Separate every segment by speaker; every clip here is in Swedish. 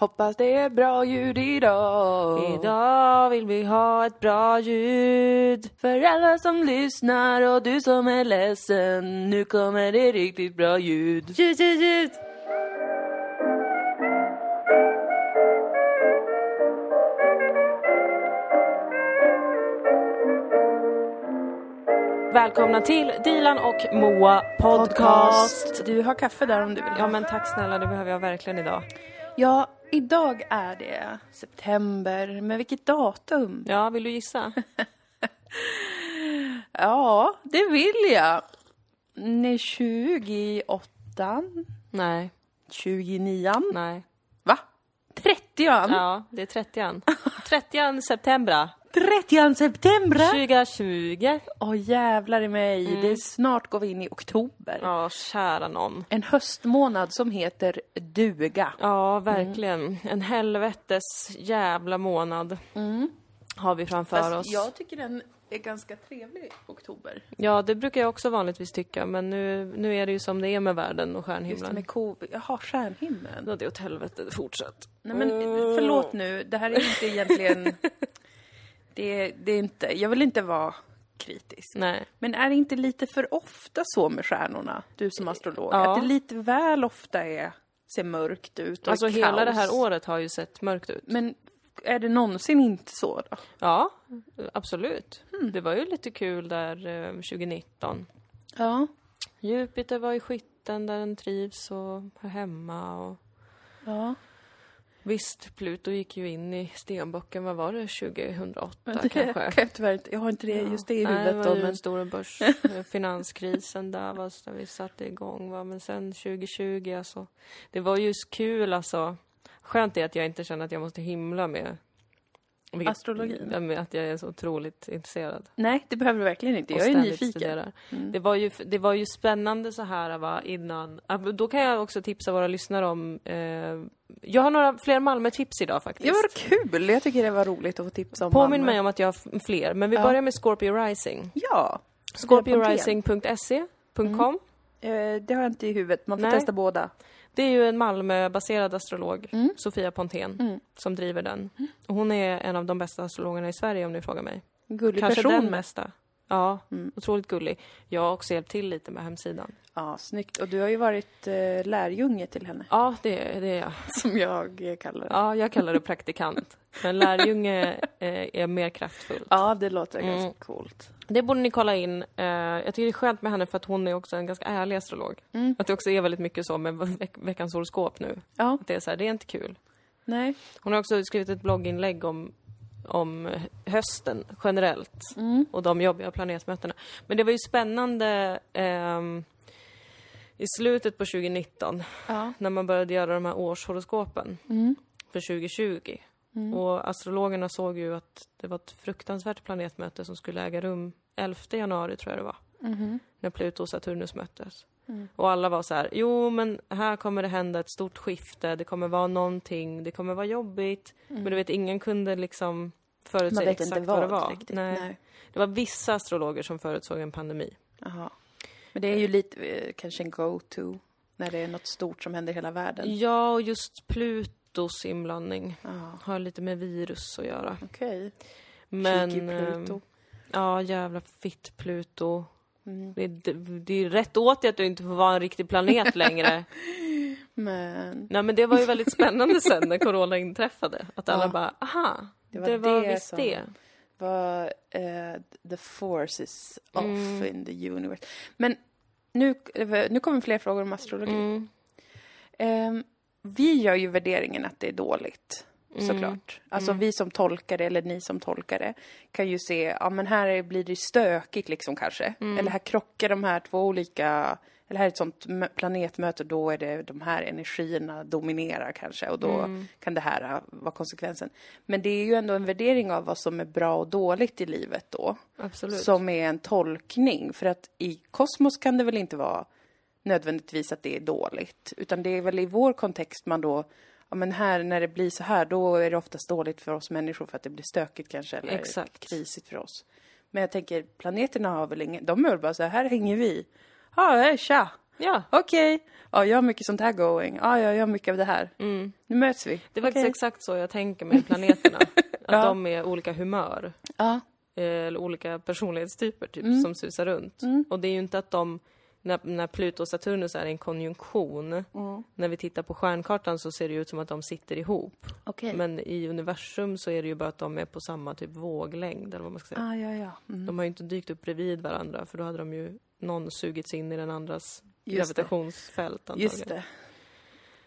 Speaker 1: Hoppas det är bra ljud idag.
Speaker 2: Idag vill vi ha ett bra ljud.
Speaker 1: För alla som lyssnar och du som är ledsen. Nu kommer det riktigt bra ljud.
Speaker 2: Ljud, ljud, ljud! Välkomna till Dilan och Moa podcast.
Speaker 1: Du har kaffe där om du vill ha.
Speaker 2: Ja men tack snälla, det behöver jag verkligen idag.
Speaker 1: Ja, idag är det september. Men vilket datum?
Speaker 2: Ja, vill du gissa?
Speaker 1: Ja, det vill jag. Nej, 28,
Speaker 2: Nej,
Speaker 1: 29,
Speaker 2: nej.
Speaker 1: va? 30
Speaker 2: Ja, det är 30 30 september
Speaker 1: 30 september! Mm.
Speaker 2: 2020.
Speaker 1: Åh jävlar i mig, det är snart går vi in i oktober.
Speaker 2: Ja, kära någon.
Speaker 1: En höstmånad som heter duga.
Speaker 2: Ja, verkligen.
Speaker 1: Mm.
Speaker 2: En helvetes jävla månad har vi framför oss.
Speaker 1: Mm. jag tycker den är ganska trevlig, oktober.
Speaker 2: Ja, det brukar jag också vanligtvis tycka, men nu, nu är det ju som det är med världen och
Speaker 1: Just det
Speaker 2: stjärnhimlen.
Speaker 1: med covid, jaha, stjärnhimlen.
Speaker 2: Ja, det är åt helvete. Fortsätt.
Speaker 1: Nej men förlåt nu, det här är inte egentligen... det, det är inte, jag vill inte vara kritisk.
Speaker 2: Nej.
Speaker 1: Men är det inte lite för ofta så med stjärnorna, du som astrolog?
Speaker 2: Ja.
Speaker 1: Att det lite väl ofta är, ser mörkt ut och är
Speaker 2: Alltså hela
Speaker 1: kaos.
Speaker 2: det här året har ju sett mörkt ut.
Speaker 1: Men är det någonsin inte så då?
Speaker 2: Ja, Hmm. absolut. Det var ju lite kul där eh, 2019.
Speaker 1: Ja.
Speaker 2: Jupiter var i skytten där den trivs och hör hemma och
Speaker 1: ja.
Speaker 2: visst, Pluto gick ju in i stenbocken, vad var det, 2008
Speaker 1: Det kan
Speaker 2: kanske?
Speaker 1: jag tyvärr inte, jag har inte det, just det i
Speaker 2: Nej,
Speaker 1: huvudet
Speaker 2: det
Speaker 1: då.
Speaker 2: var ju
Speaker 1: Men,
Speaker 2: den stora börs, finanskrisen där, var, där vi satte igång. Va? Men sen 2020, alltså. Det var ju kul alltså. Skönt är att jag inte känner att jag måste himla med vilket-
Speaker 1: Astrologin?
Speaker 2: Ja, med att jag är så otroligt intresserad.
Speaker 1: nej, det behöver du verkligen inte.
Speaker 2: och
Speaker 1: Jag är
Speaker 2: ständigt
Speaker 1: nyfiken. Mm.
Speaker 2: studerar. Det, var ju, det var ju spännande så här va, innan. Ja, men Då kan jag också tipsa våra lyssnare om... Eh, jag har några fler Malmö-tips idag faktiskt.
Speaker 1: Det var kul, jag tycker det var roligt att få tips om
Speaker 2: Påminn
Speaker 1: Malmö.
Speaker 2: mig om att jag har f- fler, men vi börjar med Scorpio Rising.
Speaker 1: Ja.
Speaker 2: Scorpiorising.se.com
Speaker 1: Eh, Det har jag inte i huvudet, man får
Speaker 2: Nej.
Speaker 1: testa båda.
Speaker 2: Det är ju en Malmöbaserad astrolog, Sofia Pontén, som driver den. Och hon är en av de bästa astrologerna i Sverige om ni frågar mig.
Speaker 1: Gullig
Speaker 2: Kanske
Speaker 1: person.
Speaker 2: den bästa. Ja, otroligt gullig. Jag har också hjälpt till lite med hemsidan.
Speaker 1: Ja, snyggt. Och du har ju varit eh, lärjunge till henne,
Speaker 2: Ja, det, det är jag.
Speaker 1: som jag eh, kallar det.
Speaker 2: Ja, jag kallar det praktikant. Men lärjunge eh, är mer kraftfull.
Speaker 1: Ja, det låter
Speaker 2: Mm.
Speaker 1: ganska coolt.
Speaker 2: Det borde ni kolla in. Eh, jag tycker det är skönt med henne för att hon är också en ganska ärlig astrolog.
Speaker 1: Mm.
Speaker 2: Att det också är väldigt mycket så med veck- veckans horoskop nu.
Speaker 1: Ja,
Speaker 2: Att det är så här, det är inte kul.
Speaker 1: nej.
Speaker 2: Hon har också skrivit ett blogginlägg om, om hösten generellt
Speaker 1: Mm.
Speaker 2: och de jobbiga planetmötena. Men det var ju spännande ehm, i slutet på 2019
Speaker 1: Ja. Mm.
Speaker 2: när man började göra de här årshoroskopen för 2020. Och astrologerna såg ju att det var ett fruktansvärt planetmöte som skulle äga rum 11 januari tror jag det var.
Speaker 1: Mm-hmm. Mm.
Speaker 2: När Pluto och Saturnus möttes. Och alla var så här, jo men här kommer det hända ett stort skifte, det kommer vara någonting, det kommer vara jobbigt. Men du vet, ingen kunde liksom
Speaker 1: Man
Speaker 2: förutse
Speaker 1: vet
Speaker 2: exakt
Speaker 1: inte
Speaker 2: vad det
Speaker 1: vad
Speaker 2: var.
Speaker 1: riktigt.
Speaker 2: Nej.
Speaker 1: Nej.
Speaker 2: Det var vissa astrologer som förutsåg en pandemi.
Speaker 1: Jaha. Men det är ju lite eh, kanske en go-to när det är något stort som händer i hela världen.
Speaker 2: Ja, och just Plutos inblandning
Speaker 1: Ja,
Speaker 2: har lite med virus att göra.
Speaker 1: okej.
Speaker 2: Men...
Speaker 1: Kik i Mm. Pluto.
Speaker 2: ehm, Ja, jävla fitt Pluto.
Speaker 1: Mm.
Speaker 2: Det, det, det är rätt åt dig att du inte får vara en riktig planet längre.
Speaker 1: Men
Speaker 2: Nej men det var ju väldigt spännande sen när corona inträffade. Att alla
Speaker 1: Ja.
Speaker 2: bara, aha, det var,
Speaker 1: var det
Speaker 2: visst
Speaker 1: som-
Speaker 2: det.
Speaker 1: vad eh, the forces of in the universe. Men nu, eh, nu kommer fler frågor om astrologi.
Speaker 2: Mm.
Speaker 1: Ehm, vi gör ju värderingen att det är dåligt, såklart. Alltså vi som tolkar det, eller ni som tolkar det, kan ju se, ja men här är- blir det stökigt liksom kanske. Eller här krockar de här två olika, eller här är ett sånt mö- planetmöte, då är det de här energierna dominerar kanske och då kan det här eh, vara konsekvensen. Men det är ju ändå en värdering av vad som är bra och dåligt i livet då
Speaker 2: Absolut.
Speaker 1: som är en tolkning. För att i kosmos kan det väl inte vara nödvändigtvis att det är dåligt. Utan det är väl i vår kontext man då, ja men här när det blir så här, då är det oftast dåligt för oss människor för att det blir stökigt kanske eller
Speaker 2: Exakt.
Speaker 1: krisigt för oss. Men jag tänker, planeterna har väl ingen, de är väl bara så här, här hänger vi. Ja, hej, tja!
Speaker 2: Ja.
Speaker 1: Okej. Ja, jag har mycket sånt här going. Ja, jag gör mycket av det här.
Speaker 2: Mm.
Speaker 1: Nu möts vi.
Speaker 2: Det är faktiskt
Speaker 1: Okej.
Speaker 2: exakt så jag tänker mig planeterna. Att
Speaker 1: Ja.
Speaker 2: de är olika humör.
Speaker 1: Ja.
Speaker 2: eh, eller olika personlighetstyper typ,
Speaker 1: Mm.
Speaker 2: som susar runt. Och det är ju inte att de, när, när Pluto och Saturnus är i en konjunktion,
Speaker 1: Mm.
Speaker 2: när vi tittar på stjärnkartan så ser det ju ut som att de sitter ihop.
Speaker 1: Okej.
Speaker 2: Men i universum så är det ju bara att de är på samma typ våglängd eller vad man ska säga.
Speaker 1: Ah, ja, ja. Mm.
Speaker 2: De har ju inte dykt upp bredvid varandra för då hade de ju någon sugits in i den andras
Speaker 1: Just det.
Speaker 2: gravitationsfält antagligen.
Speaker 1: Just det.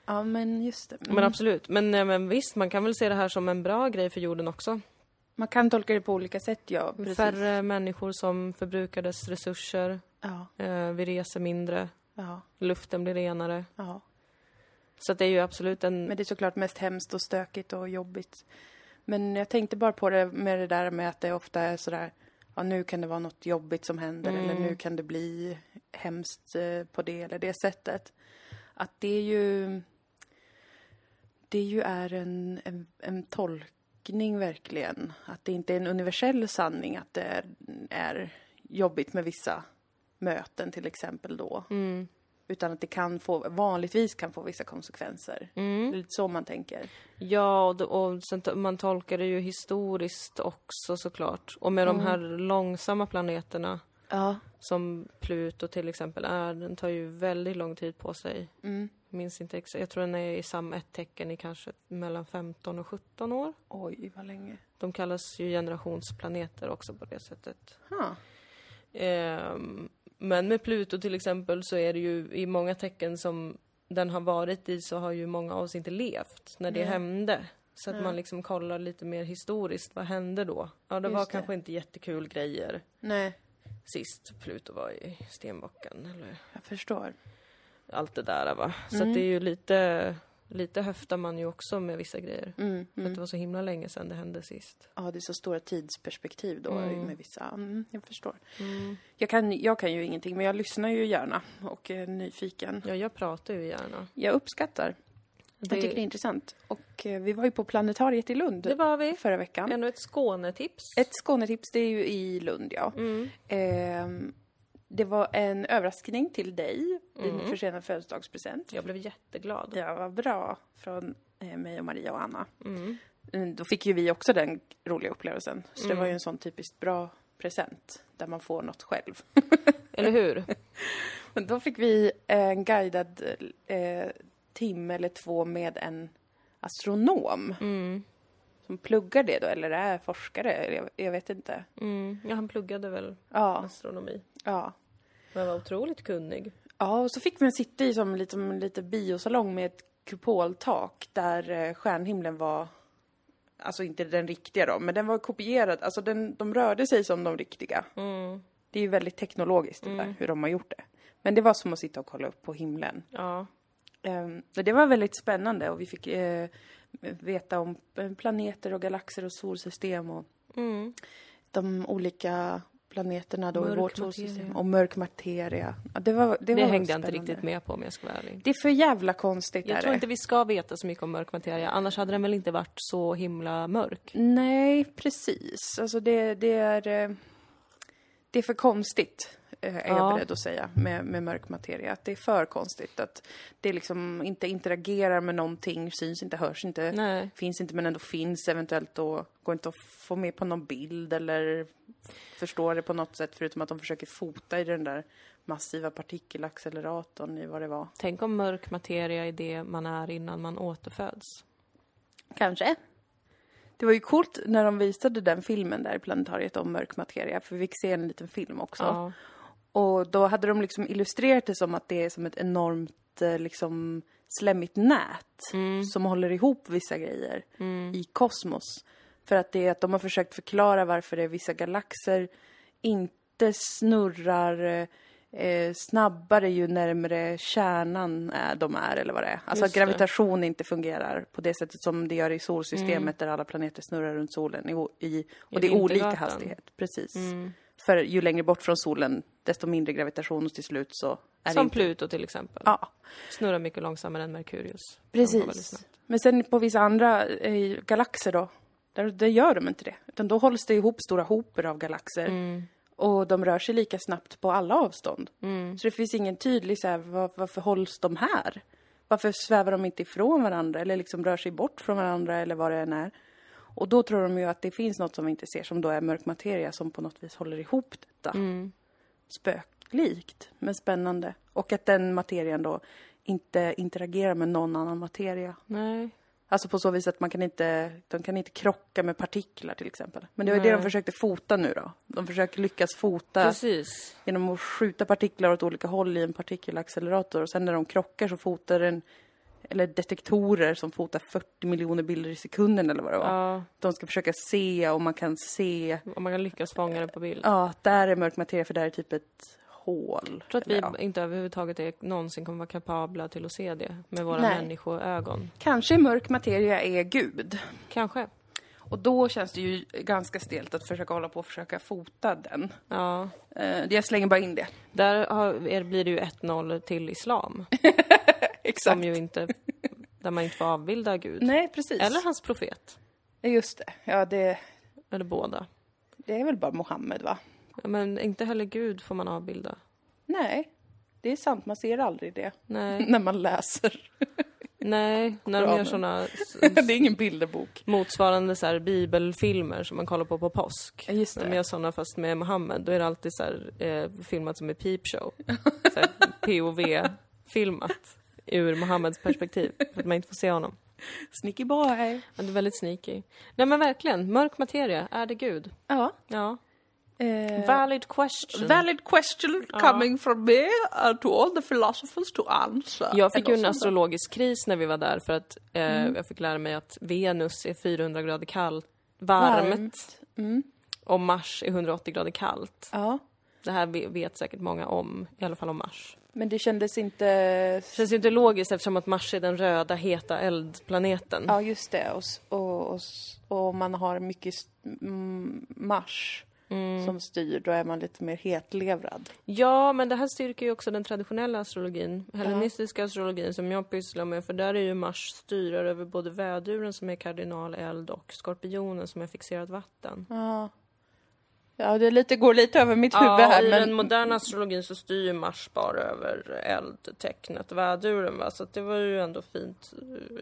Speaker 1: Ja, men just det. Mm.
Speaker 2: Men absolut. Men, eh, men visst, man kan väl se det här som en bra grej för jorden också.
Speaker 1: Man kan tolka det på olika sätt, ja. Precis.
Speaker 2: Färre människor som förbrukar dess resurser.
Speaker 1: Ja,
Speaker 2: Eh, vi reser mindre,
Speaker 1: ja,
Speaker 2: luften blir renare.
Speaker 1: ja.
Speaker 2: Så att det är ju absolut en...
Speaker 1: Men det är såklart mest hemskt och stökigt och jobbigt. Men jag tänkte bara på det med det där med att det ofta är sådär, ja nu kan det vara något jobbigt som händer eller nu kan det bli hemskt eh, på det eller det sättet. Att det är ju, det ju är en, en, en tolkning verkligen. Att det inte är en universell sanning att det är, är jobbigt med vissa möten till exempel då. Utan att det kan få, vanligtvis kan få vissa konsekvenser.
Speaker 2: Mm.
Speaker 1: Det är lite så man tänker.
Speaker 2: Ja, och, det- och sen, to- man tolkar det ju historiskt också såklart. Och med de här långsamma planeterna
Speaker 1: Ja.
Speaker 2: som Pluto till exempel är, den tar ju väldigt lång tid på sig.
Speaker 1: Mm.
Speaker 2: Jag minns inte exakt, jag tror den är i samma ett tecken i kanske mellan 15 och 17 år.
Speaker 1: Oj, vad länge.
Speaker 2: De kallas ju generationsplaneter också på det sättet.
Speaker 1: Ha.
Speaker 2: Ehm, men med Pluto till exempel så är det ju i många tecken som den har varit i så har ju många av oss inte levt när det hände. Så att man liksom kollar lite mer historiskt, vad hände då? Ja, det
Speaker 1: Just
Speaker 2: var
Speaker 1: det.
Speaker 2: kanske inte jättekul grejer
Speaker 1: Nej,
Speaker 2: sist Pluto var i stenbocken eller
Speaker 1: jag förstår.
Speaker 2: allt det där va. Så
Speaker 1: Mm.
Speaker 2: att det är ju lite, lite höftar man ju också med vissa grejer.
Speaker 1: Mm,
Speaker 2: För att det var så himla länge sedan det hände sist.
Speaker 1: Ja, det är så stora tidsperspektiv då med vissa. Mm, jag förstår. Jag, kan, jag kan ju ingenting, men jag lyssnar ju gärna och är nyfiken.
Speaker 2: Ja, jag pratar ju gärna.
Speaker 1: Jag uppskattar. Jag tycker det är intressant. Och eh, vi var ju på planetariet i Lund
Speaker 2: det var vi.
Speaker 1: förra veckan.
Speaker 2: Ännu ett Skånetips. Mm.
Speaker 1: Ett Skånetips, det är ju i Lund ja. Ehm, det var en överraskning till dig, din
Speaker 2: Mm.
Speaker 1: försenade födelsedagspresent.
Speaker 2: Jag blev jätteglad.
Speaker 1: Ja, vad bra från eh, mig och Maria och Anna. Mm, Då fick ju vi också den roliga upplevelsen. Så det var ju en sån typiskt bra present, där man får något själv.
Speaker 2: Eller hur?
Speaker 1: Men då fick vi en guidad eh, timme eller två med en astronom.
Speaker 2: Mm.
Speaker 1: Som pluggar det då, eller är forskare, eller jag, jag vet inte.
Speaker 2: Mm. Ja, han pluggade väl
Speaker 1: Ja,
Speaker 2: astronomi.
Speaker 1: ja.
Speaker 2: Men var otroligt kunnig.
Speaker 1: Ja, och så fick man sitta i som liksom, lite, som en liten biosalong med ett kupoltak där eh, stjärnhimlen var, alltså inte den riktiga då, men den var kopierad, alltså den, de rörde sig som de riktiga.
Speaker 2: Mm.
Speaker 1: Det är ju väldigt teknologiskt det där, hur de har gjort det. Men det var som att sitta och kolla upp på himlen.
Speaker 2: Ja.
Speaker 1: Ehm, och det var väldigt spännande och vi fick eh, veta om eh, planeter och galaxer och solsystem och
Speaker 2: Mm.
Speaker 1: de olika planeterna då i
Speaker 2: Mörk
Speaker 1: vårt
Speaker 2: materia.
Speaker 1: solsystem och mörk materia. Ja, det, var, det, var
Speaker 2: Det, hängde jag inte
Speaker 1: spännande.
Speaker 2: riktigt med på om jag ska vara ärlig.
Speaker 1: Det är för jävla konstigt
Speaker 2: Jag
Speaker 1: är
Speaker 2: tror
Speaker 1: det.
Speaker 2: inte vi ska veta så mycket om mörk materia, annars hade den väl inte varit så himla mörk.
Speaker 1: Nej, precis. Alltså det, det är... eh, Det är för konstigt, eh, är jag
Speaker 2: Ja.
Speaker 1: beredd att säga, med, med mörk materia. Att det är för konstigt. Att det liksom inte interagerar med någonting, syns inte, hörs inte,
Speaker 2: Nej.
Speaker 1: finns inte men ändå finns eventuellt och går inte att få med på någon bild eller förstå det på något sätt förutom att de försöker fota i den där massiva partikelacceleratorn i vad det var.
Speaker 2: Tänk om mörk materia är det man är innan man återföds.
Speaker 1: Kanske. Det var ju coolt när de visade den filmen där i planetariet om mörk materia, för vi fick se en liten film också.
Speaker 2: Ja.
Speaker 1: Och då hade de liksom illustrerat det som att det är som ett enormt eh, liksom slemmigt nät som håller ihop vissa grejer i kosmos. För att det är att de har försökt förklara varför det är vissa galaxer inte snurrar eh, eh, snabbare ju närmare kärnan är, de är eller vad det är. Alltså
Speaker 2: Just
Speaker 1: att
Speaker 2: det.
Speaker 1: gravitation inte fungerar på det sättet som det gör i solsystemet där alla planeter snurrar runt solen i, i, och det är olika
Speaker 2: vintergatan.
Speaker 1: hastighet. Precis. För ju längre bort från solen, desto mindre gravitation och till slut så är det
Speaker 2: Som
Speaker 1: inte...
Speaker 2: Pluto till exempel.
Speaker 1: Ja,
Speaker 2: Snurrar mycket långsammare än Merkurius. Den går väldigt
Speaker 1: precis.
Speaker 2: snabbt.
Speaker 1: Men sen på vissa andra eh, galaxer då, där, där gör de inte det. Utan då hålls det ihop stora hoper av galaxer. Och de rör sig lika snabbt på alla avstånd. Så det finns ingen tydlig så här, var, varför hålls de här? Varför svävar de inte ifrån varandra eller liksom rör sig bort från varandra eller vad det än är? Och då tror de ju att det finns något som vi inte ser som då är mörk materia som på något vis håller ihop detta. Spöklikt, men spännande. Och att den materien då inte interagerar med någon annan materia.
Speaker 2: Nej.
Speaker 1: Alltså på så vis att man kan inte, de kan inte krocka med partiklar till exempel. Men det var ju det de försökte fota nu då. De försöker lyckas fota
Speaker 2: Precis.
Speaker 1: genom att skjuta partiklar åt olika håll i en partikelaccelerator och sen när de krockar så fotar den, eller detektorer som fotar 40 miljoner bilder i sekunden eller vad det var.
Speaker 2: Ja,
Speaker 1: De ska försöka se om man kan se,
Speaker 2: om man kan lyckas fånga det på bild.
Speaker 1: ja, där är mörk materia för där är typ ett hål.
Speaker 2: Jag tror att vi
Speaker 1: Eller ja.
Speaker 2: inte överhuvudtaget är, någonsin kommer vara kapabla till att se det med våra
Speaker 1: Nej.
Speaker 2: människoögon.
Speaker 1: Kanske mörk materia är gud.
Speaker 2: Kanske.
Speaker 1: Och då känns det ju ganska stelt att försöka hålla på och försöka fota den.
Speaker 2: Ja.
Speaker 1: Eh, jag slänger bara in det.
Speaker 2: Där har, är, blir det ju 1-0 till islam.
Speaker 1: Exakt.
Speaker 2: Som ju inte, där man inte får avbilda Gud.
Speaker 1: Nej, precis.
Speaker 2: Eller hans profet.
Speaker 1: Just det. Ja, det,
Speaker 2: Eller båda.
Speaker 1: det är väl bara Mohammed, va?
Speaker 2: Ja, Men inte heller Gud får man avbilda.
Speaker 1: Nej, det är sant. Man ser aldrig det
Speaker 2: Nej,
Speaker 1: när man läser.
Speaker 2: nej. när de
Speaker 1: Koranen.
Speaker 2: gör såna
Speaker 1: det är ingen bilderbok.
Speaker 2: motsvarande så här, bibelfilmer som man kollar på på påsk.
Speaker 1: Ja, just
Speaker 2: När
Speaker 1: det.
Speaker 2: de gör såna fast med Mohammed, då är det alltid så här, eh, filmat som ett peepshow. Så här, POV-filmat ur Mohammeds perspektiv, för att man inte får se honom.
Speaker 1: Sneaky boy.
Speaker 2: Men det är väldigt sneaky. Nej men verkligen, mörk materia, är det Gud?
Speaker 1: Ja.
Speaker 2: Ja.
Speaker 1: Eh,
Speaker 2: Valid question.
Speaker 1: valid question coming from me uh, to all the philosophers to answer.
Speaker 2: Jag fick ju en
Speaker 1: Eller något sånt
Speaker 2: astrologisk kris när vi var där för att eh,
Speaker 1: Mm.
Speaker 2: jag fick lära mig att Venus är 400 grader kallt, varmt, och Mars är 180 grader kallt.
Speaker 1: där. Mm. Ja,
Speaker 2: Det här ve- vet säkert många om, i alla fall om Mars.
Speaker 1: men det kändes inte...
Speaker 2: Det känns ju inte logiskt eftersom att Mars är den röda, heta eldplaneten.
Speaker 1: Ja, just det. Och, s- och, och, s- och om man har mycket s- mm, mars som styr, då är man lite mer hetlevrad.
Speaker 2: Ja, men det här styrker ju också den traditionella astrologin, hellenistiska astrologin som jag pysslar med, för där är ju Mars styrare över både väduren som är kardinal eld och skorpionen som är fixerat vatten.
Speaker 1: Ja. Ja, det är lite, går lite över mitt huvud
Speaker 2: Ja,
Speaker 1: här,
Speaker 2: i
Speaker 1: men...
Speaker 2: den moderna astrologin så styr ju Mars bara över eldtecknet väduren va, så att det var ju ändå fint.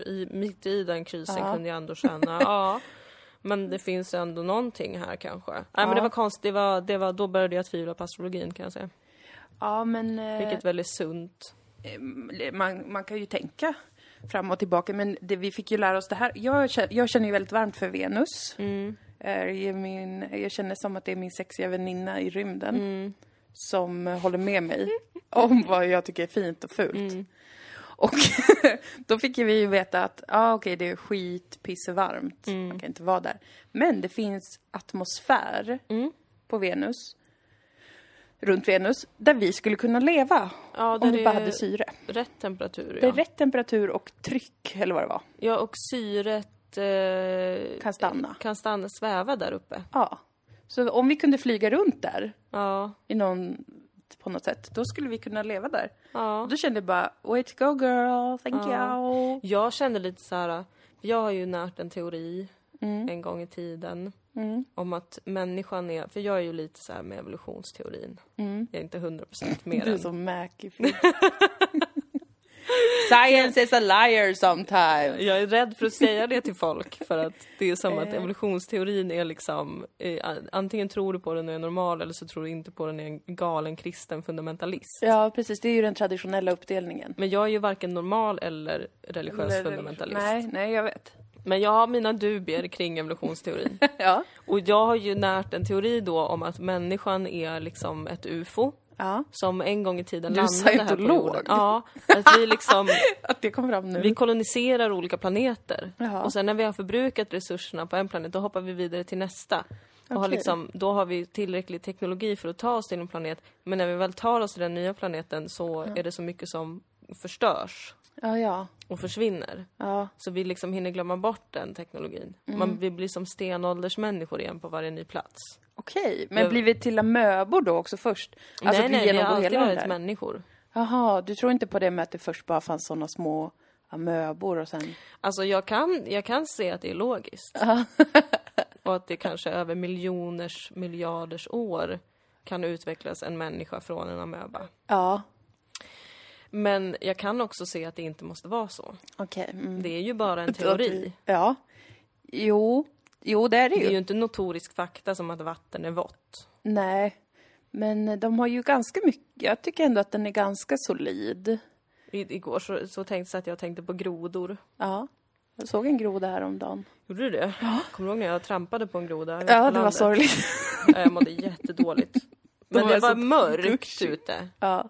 Speaker 2: I, mitt i den krisen kunde jag ändå känna, ja. Men det finns ändå någonting här kanske. Nej men det var konstigt, det var, det var, då började jag tvivla på astrologin kan jag säga.
Speaker 1: Ja, men... eh,
Speaker 2: Vilket väl är sunt.
Speaker 1: eh, man, man kan ju tänka fram och tillbaka, men det, vi fick ju lära oss det här. Jag, kä- jag känner ju väldigt varmt för Venus.
Speaker 2: Mm.
Speaker 1: Eh, det är min, jag känner som att det är min sexiga väninna i rymden
Speaker 2: Mm.
Speaker 1: som eh, håller med mig om vad jag tycker är fint och fult.
Speaker 2: Mm.
Speaker 1: Och då fick ju vi ju veta att ah, okej, det är skit, pissevarmt,
Speaker 2: Mm.
Speaker 1: man kan inte vara där. Men det finns atmosfär
Speaker 2: Mm.
Speaker 1: på Venus, runt Venus, där vi skulle kunna leva
Speaker 2: Ja,
Speaker 1: om
Speaker 2: där
Speaker 1: vi
Speaker 2: det
Speaker 1: bara hade
Speaker 2: är
Speaker 1: syre.
Speaker 2: rätt temperatur
Speaker 1: Det
Speaker 2: ja.
Speaker 1: är rätt temperatur och tryck, eller vad det var,
Speaker 2: ja och syret eh,
Speaker 1: kan stanna.
Speaker 2: kan stanna, sväva där uppe.
Speaker 1: Ja. Så om vi kunde flyga runt där
Speaker 2: Ja,
Speaker 1: i någon, på något sätt, då skulle vi kunna leva där.
Speaker 2: ja.
Speaker 1: Och då kände jag bara, way to go girl, thank you.
Speaker 2: Jag kände lite så här, för jag har ju närt en teori
Speaker 1: Mm.
Speaker 2: en gång i tiden om att människan är, för jag är ju lite så här med evolutionsteorin. Jag är inte 100% med
Speaker 1: Mm. Du är
Speaker 2: den.
Speaker 1: som Mac i film. Science is a liar sometimes.
Speaker 2: Jag är rädd för att säga det till folk för att det är som
Speaker 1: Eh.
Speaker 2: att evolutionsteorin är liksom eh, antingen tror du på den och är normal eller så tror du inte på den och är en galen kristen fundamentalist.
Speaker 1: Ja, precis, det är ju den traditionella uppdelningen.
Speaker 2: Men jag är ju varken normal eller religiös
Speaker 1: Eller-
Speaker 2: fundamentalist.
Speaker 1: Nej, nej, jag vet.
Speaker 2: Men jag har mina dubier kring evolutionsteorin.
Speaker 1: Ja.
Speaker 2: Och jag har ju närt en teori då om att människan är liksom ett UFO
Speaker 1: ja.
Speaker 2: som en gång i tiden
Speaker 1: Du är
Speaker 2: landade här på
Speaker 1: scientolog.
Speaker 2: jorden. Ja, att vi liksom
Speaker 1: Att det kom fram nu.
Speaker 2: vi koloniserar olika planeter
Speaker 1: Jaha.
Speaker 2: och sen när vi har förbrukat resurserna på en planet då hoppar vi vidare till nästa. Och har
Speaker 1: Okej.
Speaker 2: liksom, då har vi tillräcklig teknologi för att ta oss till en planet men när vi väl tar oss till den nya planeten så är det så mycket som förstörs
Speaker 1: Ja, ja.
Speaker 2: och försvinner.
Speaker 1: Ja,
Speaker 2: Så vi liksom hinner glömma bort den teknologin.
Speaker 1: Mm.
Speaker 2: Man, vi blir som stenåldersmänniskor igen på varje ny plats.
Speaker 1: okej. Men blir vi till amöbor då också först? Alltså
Speaker 2: nej,
Speaker 1: att vi
Speaker 2: nej, vi har
Speaker 1: genomgår
Speaker 2: alltid
Speaker 1: hela den
Speaker 2: varit
Speaker 1: där?
Speaker 2: människor.
Speaker 1: Jaha, du tror inte på det med att det först bara fanns såna små amöbor och sen...
Speaker 2: Alltså jag kan, jag kan se att det är logiskt. och att det kanske är över miljoners, miljarders år kan utvecklas en människa från en amöba.
Speaker 1: Ja,
Speaker 2: Men jag kan också se att det inte måste vara så.
Speaker 1: okej. mm.
Speaker 2: Det är ju bara en teori.
Speaker 1: Ja. Jo, jo det är det ju.
Speaker 2: Det är ju inte notorisk fakta som att vatten är vått.
Speaker 1: Nej. Men de har ju ganska mycket, jag tycker ändå att den är ganska solid.
Speaker 2: I, igår så, så tänkte jag att jag tänkte på grodor.
Speaker 1: Ja. Jag såg en groda häromdagen.
Speaker 2: Gjorde du det? Kommer du ihåg när jag trampade på en groda? ute på
Speaker 1: Ja, det var
Speaker 2: landet?
Speaker 1: sorgligt.
Speaker 2: Ja, Jag mådde jättedåligt.
Speaker 1: Då
Speaker 2: Men
Speaker 1: var
Speaker 2: det
Speaker 1: jag
Speaker 2: var
Speaker 1: så
Speaker 2: mörkt
Speaker 1: duschig.
Speaker 2: ute.
Speaker 1: Ja.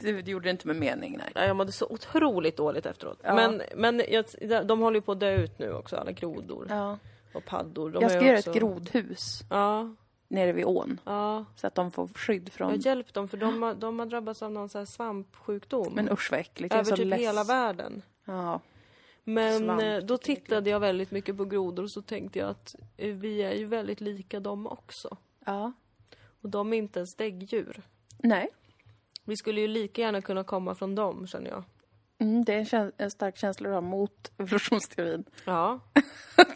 Speaker 1: Det, det gjorde det inte med mening, nej.
Speaker 2: Ja, Jag mådde så otroligt dåligt efteråt. Men, men jag, de håller ju på att dö ut nu också, alla grodor
Speaker 1: Ja.
Speaker 2: och paddor. De
Speaker 1: Jag
Speaker 2: är
Speaker 1: ska
Speaker 2: ju
Speaker 1: göra
Speaker 2: också...
Speaker 1: ett grodhus
Speaker 2: Ja,
Speaker 1: nere vid ån.
Speaker 2: ja.
Speaker 1: Så att de får skydd
Speaker 2: Jag
Speaker 1: från...
Speaker 2: hjälp dem för de har, de har drabbats av någon så här svampsjukdom.
Speaker 1: Men usch vad äckligt. Jag är
Speaker 2: över
Speaker 1: så
Speaker 2: typ
Speaker 1: less.
Speaker 2: hela världen.
Speaker 1: Ja.
Speaker 2: Men
Speaker 1: Svamp
Speaker 2: eh, då
Speaker 1: tycker jag är
Speaker 2: tittade jag väldigt mycket på grodor och så tänkte jag att eh, vi är ju väldigt lika dem också.
Speaker 1: ja.
Speaker 2: Och de är inte ens däggdjur.
Speaker 1: Nej.
Speaker 2: Vi skulle ju lika gärna kunna komma från dem känner jag.
Speaker 1: Mm, det är en, käns- en stark känsla du har mot evolutionsteorin.
Speaker 2: Ja,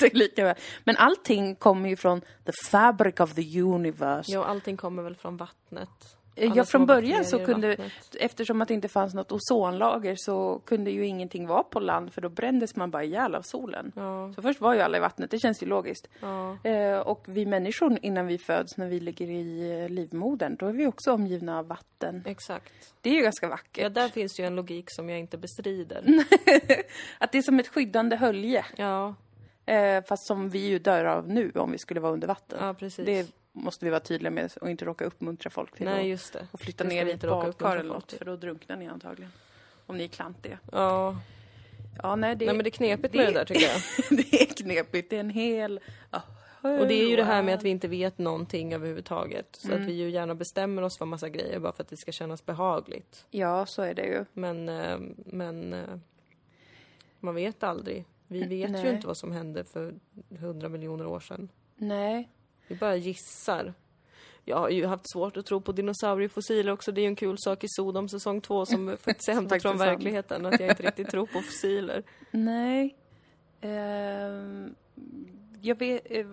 Speaker 1: det är lika väl. Men allting kommer ju från the fabric of the universe.
Speaker 2: ja och allting kommer väl från vattnet. Alla
Speaker 1: Eh, Ja,
Speaker 2: små
Speaker 1: från början så
Speaker 2: bakterier i
Speaker 1: kunde,
Speaker 2: vattnet.
Speaker 1: eftersom att det inte fanns något ozonlager så kunde ju ingenting vara på land för då brändes man bara ihjäl av solen.
Speaker 2: Ja,
Speaker 1: Så först var ju alla i vattnet, det känns ju logiskt.
Speaker 2: ja,
Speaker 1: Eh, och vi människor innan vi föds, när vi ligger i eh, livmodern, då är vi också omgivna av vatten.
Speaker 2: exakt.
Speaker 1: Det är ju ganska vackert.
Speaker 2: Ja, där finns ju en logik som jag inte bestrider.
Speaker 1: Att det är som ett skyddande hölje,
Speaker 2: Ja,
Speaker 1: eh, fast som vi ju dör av nu om vi skulle vara under vatten.
Speaker 2: ja precis.
Speaker 1: det måste vi vara tydliga med och inte råka uppmuntra folk till
Speaker 2: Nej,
Speaker 1: att
Speaker 2: just det.
Speaker 1: och flytta
Speaker 2: Det ska
Speaker 1: ner
Speaker 2: vi
Speaker 1: i ett
Speaker 2: inte råka
Speaker 1: badkar
Speaker 2: uppmuntra
Speaker 1: eller
Speaker 2: folk
Speaker 1: något,
Speaker 2: till.
Speaker 1: för då drunknar ni antagligen. Om ni är klantiga.
Speaker 2: Ja,
Speaker 1: Ja, nej, det,
Speaker 2: nej men det är knepigt med det där tycker jag.
Speaker 1: det är knepigt. Det är en hel... ja,
Speaker 2: Och det är ju det här
Speaker 1: hög-
Speaker 2: med att vi inte vet någonting överhuvudtaget. Så
Speaker 1: Mm.
Speaker 2: att vi ju gärna bestämmer oss för massa grejer bara för att det ska kännas behagligt.
Speaker 1: Ja, så är det ju.
Speaker 2: Men, eh, men eh, man vet aldrig. Vi vet ju
Speaker 1: nej.
Speaker 2: inte vad som hände för hundra miljoner år sedan.
Speaker 1: Nej.
Speaker 2: Vi bara gissar. Jag har ju haft svårt att tro på dinosauriefossiler också. Det är ju en kul sak i Sodom säsong två som faktiskt är hämtat
Speaker 1: Faktiskt
Speaker 2: från
Speaker 1: sant.
Speaker 2: verkligheten. Att jag inte riktigt tror på fossiler.
Speaker 1: Nej. Ehm, jag vet... eh,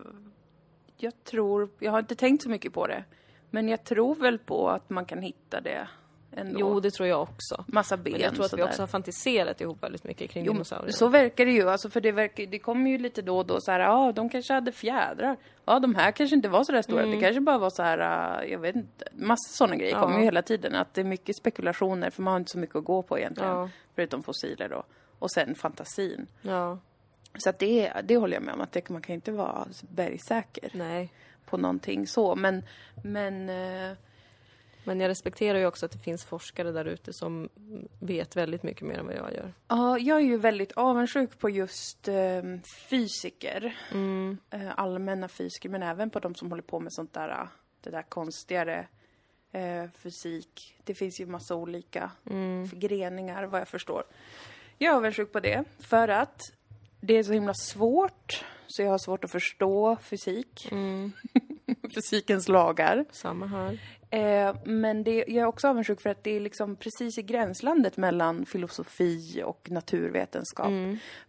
Speaker 1: Jag tror... Jag har inte tänkt så mycket på det. Men jag tror väl på att man kan hitta det ändå.
Speaker 2: Jo, det tror jag också.
Speaker 1: Massa ben
Speaker 2: Men jag tror att vi
Speaker 1: sådär.
Speaker 2: också har fantiserat ihop väldigt mycket kring
Speaker 1: Jo,
Speaker 2: dinosaurier.
Speaker 1: så verkar det ju. Alltså, för det, verkar, det kommer ju lite då och då så här, ja, ah, de kanske hade fjädrar. Ja, de här kanske inte var så där
Speaker 2: Mm.
Speaker 1: stora. Det kanske bara var så här, ah, jag vet inte. Massa sådana grejer kommer ju hela tiden. Att det är mycket spekulationer, för man har inte så mycket att gå på egentligen.
Speaker 2: Ja.
Speaker 1: Förutom fossiler då. Och sen fantasin.
Speaker 2: Ja,
Speaker 1: Så att det, det håller jag med om, att det, man kan inte vara bergsäker
Speaker 2: nej.
Speaker 1: på någonting så. Men, men eh,
Speaker 2: Men jag respekterar ju också att det finns forskare där ute som vet väldigt mycket mer än vad jag gör.
Speaker 1: Ja, jag är ju väldigt avundsjuk på just eh, fysiker.
Speaker 2: Mm,
Speaker 1: Eh, allmänna fysiker, men även på de som håller på med sånt där, eh, det där konstigare eh, fysik. Det finns ju massa olika förgreningar vad jag förstår. Jag är avundsjuk på det, för att det är så himla svårt, så jag har svårt att förstå fysik. Fysikens lagar.
Speaker 2: Samma här.
Speaker 1: Eh, men det, jag är också avundsjuk för att det är liksom precis i gränslandet mellan filosofi och naturvetenskap.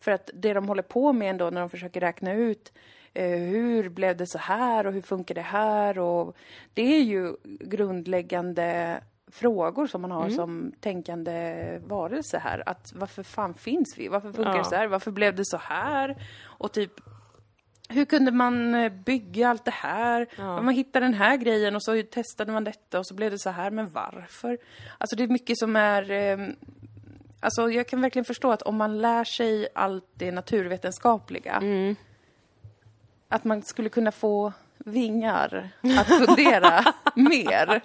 Speaker 1: För att det de håller på med ändå när de försöker räkna ut eh, hur blev det så här och hur funkar det här och det är ju grundläggande frågor som man har som tänkande varelse här. Att varför fan finns vi? Varför funkar
Speaker 2: Ja.
Speaker 1: det så här? Varför blev det så här? Och typ hur kunde man eh, bygga allt det här? Man hittade den här grejen och så testade man detta och så blev det så här, men varför? Alltså det är mycket som är... eh, Alltså jag kan verkligen förstå att om man lär sig allt det naturvetenskapliga,
Speaker 2: Mm.
Speaker 1: att man skulle kunna få vingar att fundera mer.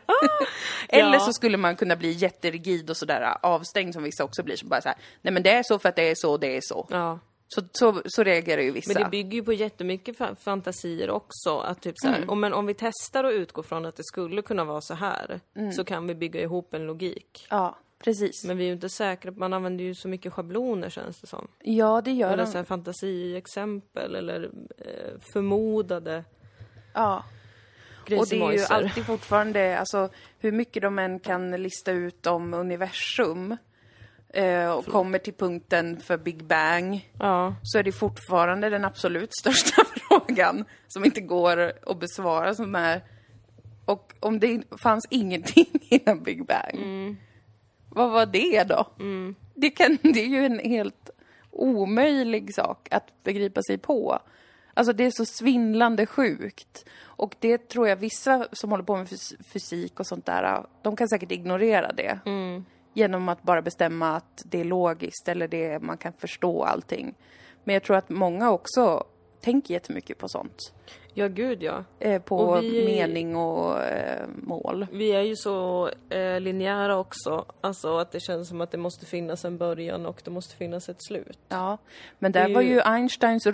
Speaker 1: Eller så skulle man kunna bli jätterigid och sådär äh, avstängd som vissa också blir, som bara så här, nej men det är så för att det är så, det är så.
Speaker 2: Ja.
Speaker 1: Så, så, så reagerar ju vissa.
Speaker 2: Men det bygger ju på jättemycket fa- fantasier också. Att typ så här,
Speaker 1: Mm.
Speaker 2: om, men om vi testar och utgår från att det skulle kunna vara så här
Speaker 1: Mm.
Speaker 2: så kan vi bygga ihop en logik.
Speaker 1: Ja, precis.
Speaker 2: Men vi är ju inte säkra, man använder ju så mycket schabloner känns det som.
Speaker 1: Ja, det gör
Speaker 2: Eller
Speaker 1: de.
Speaker 2: så här fantasiexempel eller eh, förmodade
Speaker 1: Ja. Och det är ju
Speaker 2: grejsimojser.
Speaker 1: alltid fortfarande, alltså hur mycket de än kan lista ut om universum eh, och kommer till punkten för Big Bang,
Speaker 2: Ja,
Speaker 1: så är det fortfarande den absolut största frågan som inte går att besvara som är Och om det fanns ingenting innan Big Bang, vad var det då? Det, kan, det är ju en helt omöjlig sak att begripa sig på. Alltså det är så svindlande sjukt. Och det tror jag vissa som håller på med fys- fysik och sånt där, de kan säkert ignorera det. Genom att bara bestämma att det är logiskt eller det, man kan förstå allting. Men jag tror att många också tänker jättemycket på sånt.
Speaker 2: Ja, gud ja.
Speaker 1: Eh, på
Speaker 2: Och vi-
Speaker 1: mening och eh, mål.
Speaker 2: Vi är ju så eh, linjära också. Alltså att det känns som att det måste finnas en början och det måste finnas ett slut.
Speaker 1: Ja, men där
Speaker 2: är
Speaker 1: var
Speaker 2: ju-
Speaker 1: ju Einsteins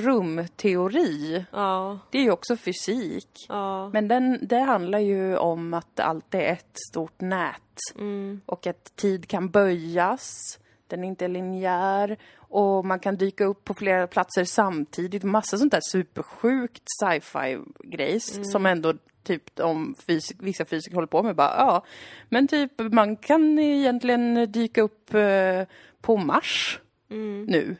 Speaker 1: rumteori.
Speaker 2: Ja,
Speaker 1: Det är ju också fysik.
Speaker 2: ja.
Speaker 1: Men den, det handlar ju om att allt är ett stort nät.
Speaker 2: Mm.
Speaker 1: Och att tid kan böjas. Den är inte linjär. Och man kan dyka upp på flera platser samtidigt. Massa sånt där supersjukt sci-fi-grejs.
Speaker 2: Mm.
Speaker 1: Som ändå typ de fysik, vissa fysiker håller på med. Bara, ja, men typ man kan egentligen dyka upp eh, på Mars nu.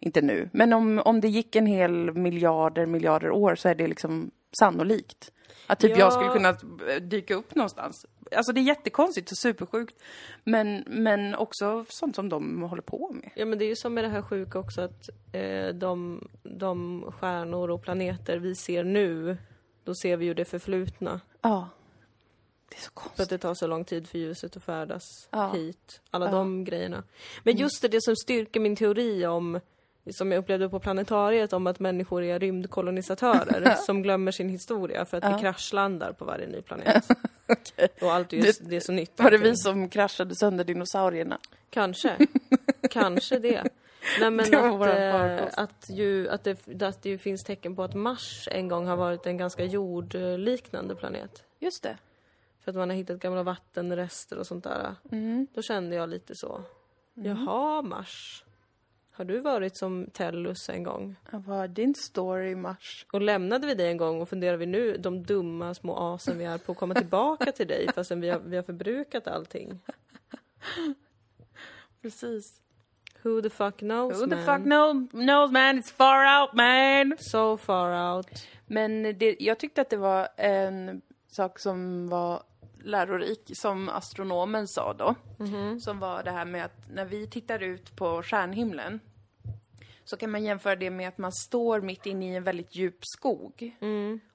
Speaker 1: Inte nu, men om, om det gick en hel miljarder, miljarder år så är det liksom sannolikt. Att typ
Speaker 2: Ja.
Speaker 1: jag skulle kunna eh, dyka upp någonstans. Alltså det är jättekonstigt och supersjukt. Men, men också sånt som de håller på med.
Speaker 2: Ja men det är ju som med det här sjuka också att eh, de, de stjärnor och planeter vi ser nu, då ser vi ju det förflutna.
Speaker 1: Ja. Det är så
Speaker 2: För att
Speaker 1: konstigt.
Speaker 2: det tar så lång tid för ljuset att färdas
Speaker 1: Ja. Mm.
Speaker 2: hit. Alla de grejerna. Men just det, det som styrker min teori om, som jag upplevde på planetariet, om att människor är rymdkolonisatörer som glömmer sin historia för att vi kraschlandar på varje ny planet. Och allt är ju, det, är så nytt.
Speaker 1: Var det
Speaker 2: allting.
Speaker 1: vi som kraschade sönder dinosaurierna?
Speaker 2: Kanske. Kanske det. Nej men
Speaker 1: Det var
Speaker 2: att,
Speaker 1: våran
Speaker 2: eh,
Speaker 1: farkost.
Speaker 2: att, ju, att, det, att det ju finns tecken på att Mars en gång har varit en ganska jordliknande planet.
Speaker 1: Just det.
Speaker 2: För att man har hittat gamla vattenrester och sånt där.
Speaker 1: Mm.
Speaker 2: Då kände jag lite så. Jaha Mars. Har du varit som Tellus en gång?
Speaker 1: Vad din story, Mars?
Speaker 2: Och lämnade vi dig en gång och funderar vi nu, de dumma små asen vi är, på att komma tillbaka till dig fastän vi har, vi har förbrukat allting?
Speaker 1: Precis.
Speaker 2: Who the fuck knows
Speaker 1: Who the
Speaker 2: man?
Speaker 1: fuck knows, knows man? It's far out man!
Speaker 2: So far out.
Speaker 1: Men det, jag tyckte att det var en sak som var lärorik, som astronomen sa då. Som var det här med att när vi tittar ut på stjärnhimlen så kan man jämföra det med att man står mitt inne i en väldigt djup skog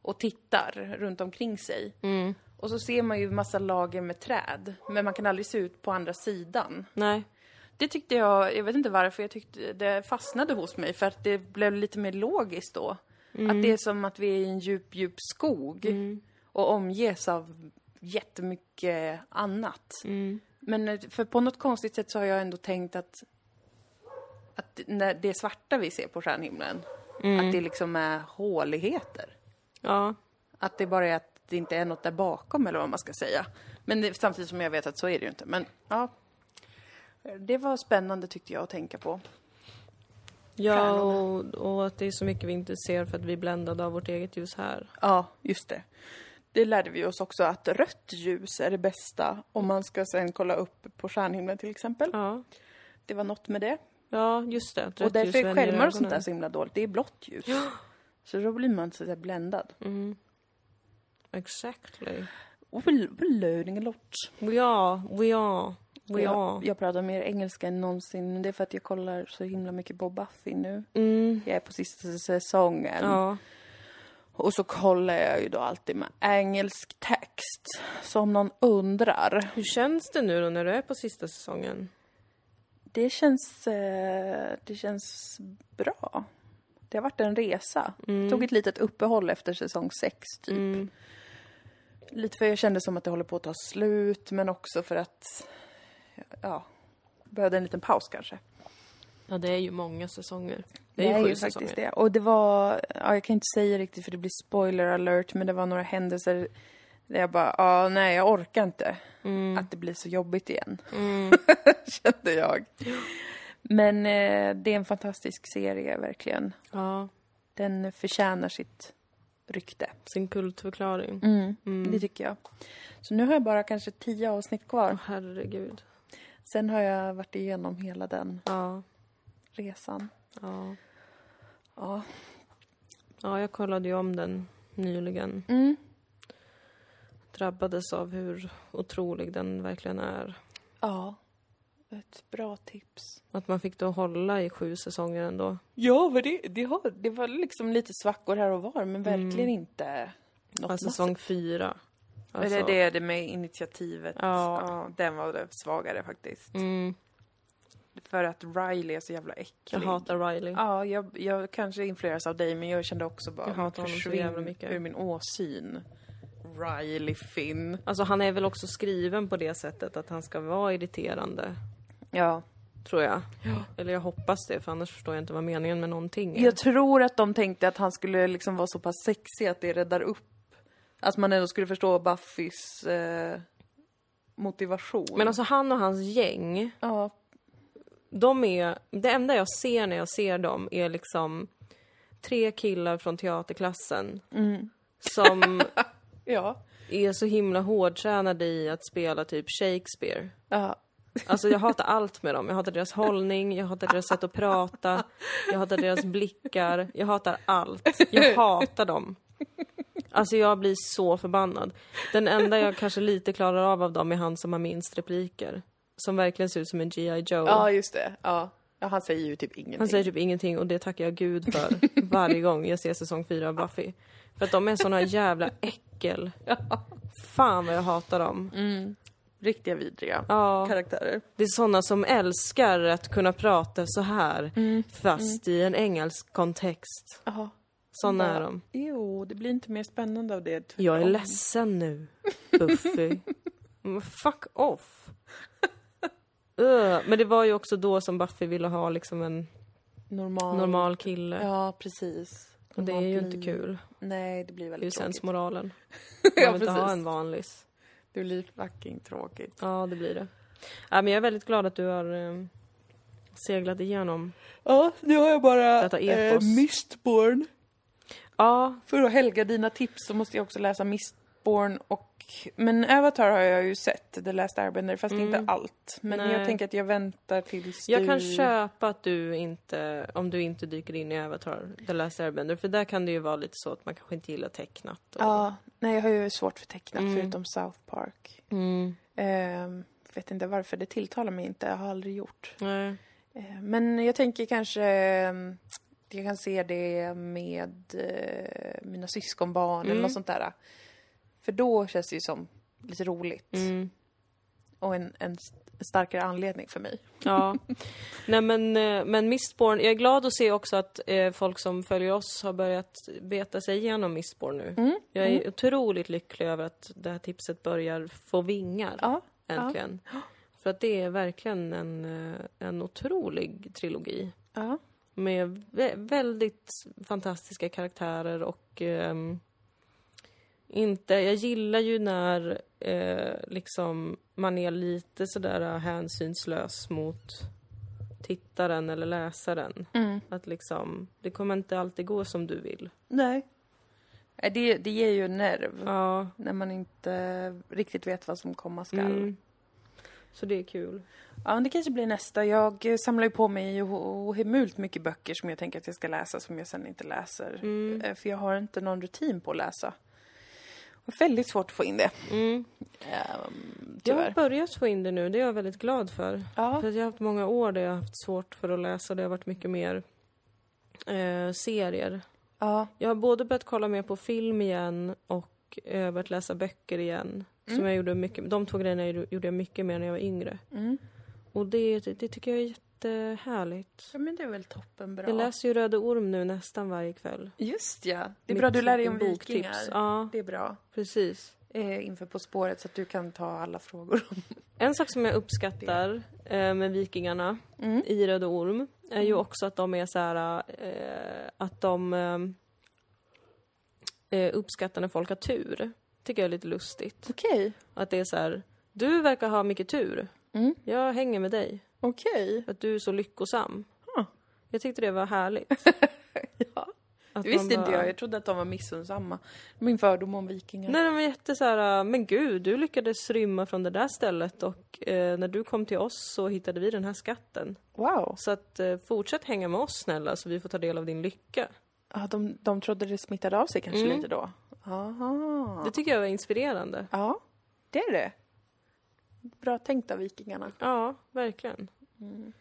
Speaker 1: och tittar runt omkring sig. Och så ser man ju massa lager med träd, men man kan aldrig se ut på andra sidan.
Speaker 2: Nej.
Speaker 1: Det tyckte jag, jag vet inte varför, jag tyckte det fastnade hos mig för att det blev lite mer logiskt då. Att det är som att vi är i en djup, djup skog och omges av jättemycket annat. Men eh, för på något konstigt sätt så har jag ändå tänkt att, att när det svarta vi ser på stjärnhimlen, att det liksom är håligheter.
Speaker 2: Ja.
Speaker 1: Att det bara är att det inte är något där bakom eller vad man ska säga. Men det, samtidigt som jag vet att så är det ju inte. Men ja. Det var spännande tyckte jag att tänka på.
Speaker 2: Ja, och, och att det är så mycket vi inte ser för att vi är bländade av vårt eget ljus här.
Speaker 1: Ja, just det. Det lärde vi oss också att rött ljus är det bästa om man ska sen kolla upp på stjärnhimlen till exempel.
Speaker 2: Ja,
Speaker 1: Det var något med det.
Speaker 2: ja just det. Rätt
Speaker 1: och därför
Speaker 2: ljus
Speaker 1: är
Speaker 2: vänjer
Speaker 1: skärmar och sånt där
Speaker 2: ögonen.
Speaker 1: så himla dåligt. Det är blått ljus. Så då blir man så där bländad.
Speaker 2: Exactly.
Speaker 1: Och bel- belöning a lot.
Speaker 2: We are, we are, we
Speaker 1: Jag,
Speaker 2: are.
Speaker 1: jag pratar mer engelska än någonsin. men Det är för att jag kollar så himla mycket Bob Buffy nu. Jag är på sista säsongen.
Speaker 2: Ja,
Speaker 1: Och så kollar jag ju då alltid med engelsk text. Så om någon undrar.
Speaker 2: hur känns det nu då när du är på sista säsongen?
Speaker 1: Det känns, eh, det känns bra. Det har varit en resa. Tog ett litet uppehåll efter säsong sex typ. Lite för jag kände som att det håller på att ta slut men också för att, ja, behövde en liten paus kanske.
Speaker 2: Ja, det är ju många säsonger.
Speaker 1: Det är, ju faktiskt det. Och det var, ja, jag kan inte säga riktigt för det blir spoiler alert, men det var några händelser där jag bara, ja nej jag orkar inte. Att det blir så jobbigt igen. Mm. Kände jag. Men eh, det är en fantastisk serie verkligen.
Speaker 2: Ja,
Speaker 1: Den förtjänar sitt rykte.
Speaker 2: sin
Speaker 1: Mm.
Speaker 2: kultförklaring. Mm.
Speaker 1: Det tycker jag. Så nu har jag bara kanske tio avsnitt kvar.
Speaker 2: Åh, herregud.
Speaker 1: Sen har jag varit igenom hela den
Speaker 2: Ja,
Speaker 1: resan.
Speaker 2: ja.
Speaker 1: Ja.
Speaker 2: Ja, jag kollade ju om den nyligen.
Speaker 1: Mm.
Speaker 2: Att drabbades av hur otrolig den verkligen är.
Speaker 1: Ja. Ett bra tips.
Speaker 2: Att man fick då hålla i sju säsonger ändå.
Speaker 1: Ja, men det, det, har, det var liksom lite svackor här och var, men verkligen inte något
Speaker 2: Mm. Alltså, säsong fyra.
Speaker 1: Alltså.
Speaker 2: Alltså,
Speaker 1: Det är det med initiativet.
Speaker 2: Ja.
Speaker 1: den var det svagare faktiskt.
Speaker 2: mm,
Speaker 1: För att Riley är så jävla äcklig.
Speaker 2: jag hatar Riley.
Speaker 1: Ja, jag, jag kanske influeras av dig, men jag kände också bara...
Speaker 2: Jag hatar honom så
Speaker 1: försvinn
Speaker 2: jävla mycket."
Speaker 1: ur min åsyn. Riley Finn.
Speaker 2: Alltså han är väl också skriven på det sättet att han ska vara irriterande.
Speaker 1: Ja.
Speaker 2: Tror jag. Eller jag hoppas det, för annars förstår jag inte vad meningen med någonting är.
Speaker 1: Jag tror att de tänkte att han skulle liksom vara så pass sexig att det räddar upp. Att man ändå skulle förstå Buffys eh, motivation.
Speaker 2: Men alltså han och hans gäng,
Speaker 1: ja.
Speaker 2: de är... Det enda jag ser när jag ser dem är liksom tre killar från teaterklassen
Speaker 1: Mm.
Speaker 2: som
Speaker 1: Ja.
Speaker 2: är så himla hårdtränade i att spela typ Shakespeare.
Speaker 1: ja.
Speaker 2: Alltså jag hatar allt med dem. Jag hatar deras hållning, jag hatar deras sätt att prata, jag hatar deras blickar, jag hatar allt. Jag hatar dem. Alltså jag blir så förbannad. Den enda jag kanske lite klarar av av dem är han som har minst repliker. Som verkligen ser ut som en G.I. Joe.
Speaker 1: Ja, just det. Ja. ja han säger ju typ ingenting.
Speaker 2: Han säger typ ingenting och det tackar jag gud för varje gång jag ser säsong 4 av Buffy. För att de är såna jävla äckel. Fan vad jag hatar dem.
Speaker 1: Riktiga vidriga
Speaker 2: Ja.
Speaker 1: karaktärer.
Speaker 2: Det är såna som älskar att kunna prata så här
Speaker 1: Mm,
Speaker 2: fast i en engelsk kontext.
Speaker 1: Ja.
Speaker 2: Såna är de.
Speaker 1: Jo, det blir inte mer spännande av det. Typ
Speaker 2: Jag är
Speaker 1: tvärtom.
Speaker 2: ledsen nu, Buffy. Mm, Fuck off. Ugh. Men det var ju också då som Buffy ville ha liksom en
Speaker 1: Normal.
Speaker 2: normal kille.
Speaker 1: Ja, precis.
Speaker 2: och det är ju
Speaker 1: Normalt
Speaker 2: inte
Speaker 1: liv.
Speaker 2: kul.
Speaker 1: Nej, det blir
Speaker 2: Det är ju
Speaker 1: väldigt tråkigt.
Speaker 2: sensmoralen. Man
Speaker 1: ja,
Speaker 2: vill inte ha
Speaker 1: precis.
Speaker 2: en vanlis.
Speaker 1: Det blir fucking tråkigt.
Speaker 2: Ja, det blir det. Ja, men jag är väldigt glad att du har eh, seglat igenom.
Speaker 1: Ja, nu har jag bara eh,
Speaker 2: Detta epos.
Speaker 1: Mistborn.
Speaker 2: Ja,
Speaker 1: För att helga dina tips så måste jag också läsa Mistborn och... Men Avatar har jag ju sett, The Last Airbender, fast inte allt. Men
Speaker 2: Mm. Nej.
Speaker 1: jag tänker att jag väntar tills
Speaker 2: Jag kan
Speaker 1: du...
Speaker 2: köpa att du inte, om du inte dyker in i Avatar, The Last Airbender, för där kan det ju vara lite så att man kanske inte gillar tecknat. Och...
Speaker 1: Ja, nej jag har ju svårt för tecknat
Speaker 2: Mm.
Speaker 1: förutom South Park.
Speaker 2: Mm.
Speaker 1: Ehm, vet inte varför, det tilltalar mig inte, jag har aldrig gjort.
Speaker 2: Nej.
Speaker 1: Eh, Men jag tänker kanske, eh, jag kan se det med eh, mina syskonbarn eller
Speaker 2: Mm.
Speaker 1: något sånt där. För då känns det ju som lite roligt
Speaker 2: Mm.
Speaker 1: och en, en st- starkare anledning för mig.
Speaker 2: Ja. Nej men, eh, men Mistborn, jag är glad att se också att eh, folk som följer oss har börjat beta sig igenom Mistborn nu.
Speaker 1: Mm.
Speaker 2: Jag är otroligt lycklig över att det här tipset börjar få vingar,
Speaker 1: Ja,
Speaker 2: äntligen. För att det är verkligen en, eh, en otrolig trilogi.
Speaker 1: ja.
Speaker 2: med vä- väldigt fantastiska karaktärer och ehm, inte, jag gillar ju när eh, liksom man är lite sådär eh, hänsynslös mot tittaren eller läsaren. Att liksom, det kommer inte alltid gå som du vill.
Speaker 1: Nej. Eh, Det, det ger ju en nerv
Speaker 2: Ja,
Speaker 1: när man inte riktigt vet vad som komma skall.
Speaker 2: mm. Så det är kul.
Speaker 1: Ja, men det kanske blir nästa. Jag eh, samlar ju på mig o- ohemult mycket böcker som jag tänker att jag ska läsa som jag sen inte läser.
Speaker 2: Mm.
Speaker 1: Eh, För jag har inte någon rutin på att läsa. Och väldigt svårt att få in det.
Speaker 2: Mm.
Speaker 1: Ehm,
Speaker 2: Jag har
Speaker 1: tyvärr.
Speaker 2: börjat få in det nu, det är jag väldigt glad för.
Speaker 1: Ja.
Speaker 2: För att jag har haft många år där jag har haft svårt för att läsa, det har varit mycket mer eh, serier.
Speaker 1: Ja.
Speaker 2: Jag har både börjat kolla mer på film igen och eh, börjat läsa böcker igen. Som jag gjorde mycket, de två grejerna gjorde- gjorde jag mycket mer när jag var yngre.
Speaker 1: Mm.
Speaker 2: Och det, det tycker jag är jättehärligt.
Speaker 1: ja, men det är väl toppenbra.
Speaker 2: Jag läser ju Röde Orm nu nästan varje kväll.
Speaker 1: Just ja. Det är
Speaker 2: Mitt
Speaker 1: bra, du lär dig om
Speaker 2: boktips.
Speaker 1: vikingar.
Speaker 2: Ja,
Speaker 1: Det är bra.
Speaker 2: precis.
Speaker 1: Eh, inför På spåret så att du kan ta alla frågor.
Speaker 2: En sak som jag uppskattar eh, med vikingarna
Speaker 1: Mm.
Speaker 2: i Röde Orm är ju också att de är så här eh, att de eh, uppskattar när folk har tur. Tycker jag är lite lustigt.
Speaker 1: Okej.
Speaker 2: Att det är så här, du verkar ha mycket tur.
Speaker 1: Mm.
Speaker 2: Jag hänger med dig,
Speaker 1: Okej.
Speaker 2: för att du är så lyckosam.
Speaker 1: Huh.
Speaker 2: Jag tyckte det var härligt.
Speaker 1: Ja.
Speaker 2: Att
Speaker 1: Det visste
Speaker 2: man
Speaker 1: inte
Speaker 2: bara-
Speaker 1: jag. Jag trodde att de var missunnsamma. Min fördom om vikingar.
Speaker 2: Nej, de var jätte så här, "Ah, men gud, du lyckades rymma från det där stället och eh, när du kom till oss så hittade vi den här skatten.
Speaker 1: Wow.
Speaker 2: Så att eh, fortsätt hänga med oss snälla så vi får ta del av din lycka.
Speaker 1: Ja, de, de trodde det smittade av sig kanske
Speaker 2: Mm.
Speaker 1: lite då. Ja. Aha.
Speaker 2: Det tycker jag var inspirerande.
Speaker 1: Ja, det är det. Bra tänkt av vikingarna.
Speaker 2: Ja, verkligen.
Speaker 1: Mm.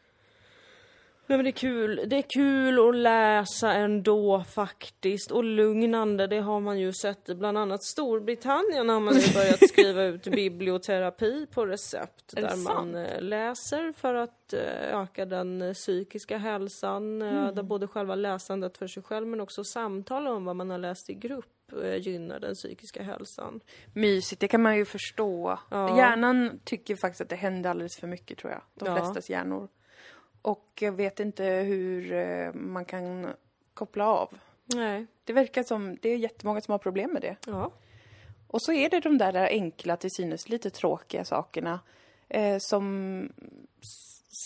Speaker 2: Nej, men det är kul. Det är kul att läsa ändå faktiskt. Och lugnande, det har man ju sett i bland annat Storbritannien har man ju börjat skriva ut biblioterapi på recept.
Speaker 1: Är det
Speaker 2: där
Speaker 1: sant?
Speaker 2: man eh, läser för att eh, öka den eh, psykiska hälsan. eh,
Speaker 1: Mm.
Speaker 2: Där både själva läsandet för sig själv men också samtal om vad man har läst i grupp eh, gynnar den psykiska hälsan.
Speaker 1: Mysigt, det kan man ju förstå.
Speaker 2: Ja.
Speaker 1: Hjärnan tycker faktiskt att det händer alldeles för mycket tror jag. De
Speaker 2: Ja.
Speaker 1: flestas hjärnor. Och jag vet inte hur eh, man kan koppla av.
Speaker 2: Nej.
Speaker 1: Det verkar som, det är jättemånga som har problem med det.
Speaker 2: Ja.
Speaker 1: Och så är det de där enkla, till synes lite tråkiga sakerna eh, som,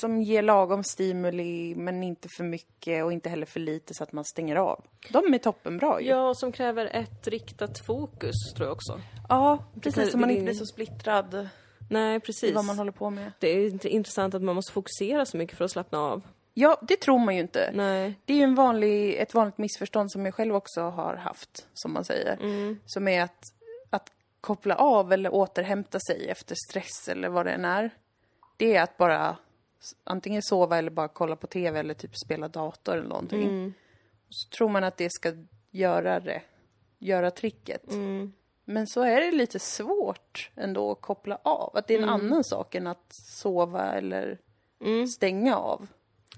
Speaker 1: som ger lagom stimuli men inte för mycket och inte heller för lite så att man stänger av. De är toppenbra ju.
Speaker 2: ja, och som kräver ett riktat fokus tror jag också.
Speaker 1: Ja, precis. Så
Speaker 2: kan-
Speaker 1: man
Speaker 2: det-
Speaker 1: inte blir så splittrad
Speaker 2: Nej,
Speaker 1: i
Speaker 2: precis.
Speaker 1: vad man håller på med.
Speaker 2: Det är inte intressant att man måste fokusera så mycket för att slappna av.
Speaker 1: Ja, det tror man ju inte.
Speaker 2: Nej.
Speaker 1: Det är ju en vanlig, ett vanligt missförstånd som jag själv också har haft, som man säger. Som är att, att koppla av eller återhämta sig efter stress eller vad det än är. Det är att bara s- antingen sova eller bara kolla på TV eller typ spela dator eller någonting. Så tror man att det ska göra det, göra tricket. Men så är det lite svårt ändå att koppla av. Att det är en annan sak än att sova eller stänga av.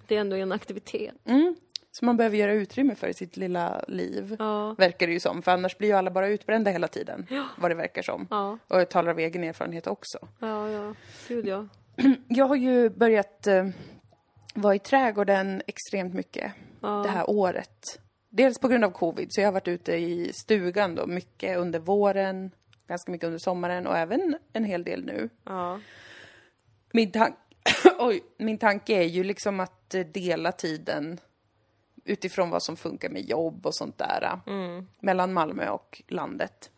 Speaker 2: Det är ändå en aktivitet.
Speaker 1: Mm. Så man behöver göra utrymme för i sitt lilla liv.
Speaker 2: Ja.
Speaker 1: Verkar det ju som. För annars blir ju alla bara utbrända hela tiden. Vad det verkar som.
Speaker 2: Ja,
Speaker 1: Och jag talar av egen erfarenhet också.
Speaker 2: ja, ja. Gud ja.
Speaker 1: Jag har ju börjat eh, vara i trädgården extremt mycket det här året. Dels på grund av covid, så jag har varit ute i stugan då mycket under våren, ganska mycket under sommaren och även en hel del nu.
Speaker 2: Ja.
Speaker 1: Min, tan- Oj, min tanke är ju liksom att eh, dela tiden utifrån vad som funkar med jobb och sånt där. eh, Mellan Malmö och landet.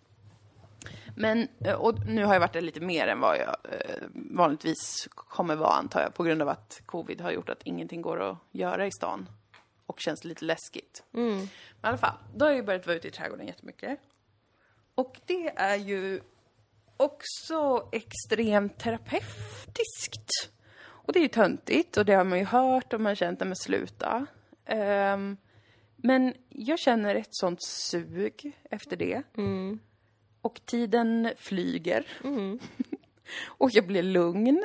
Speaker 1: Men, eh, och nu har jag varit där lite mer än vad jag eh, vanligtvis kommer vara antar jag. På grund av att covid har gjort att ingenting går att göra i stan. Och känns lite läskigt. Men i alla fall, då har jag ju börjat vara ute i trädgården jättemycket. Och det är ju också extremt terapeutiskt. Och det är ju töntigt och det har man ju hört och man har känt, nej men sluta. Ehm, men jag känner ett sånt sug efter det. Och tiden flyger. och jag blir lugn.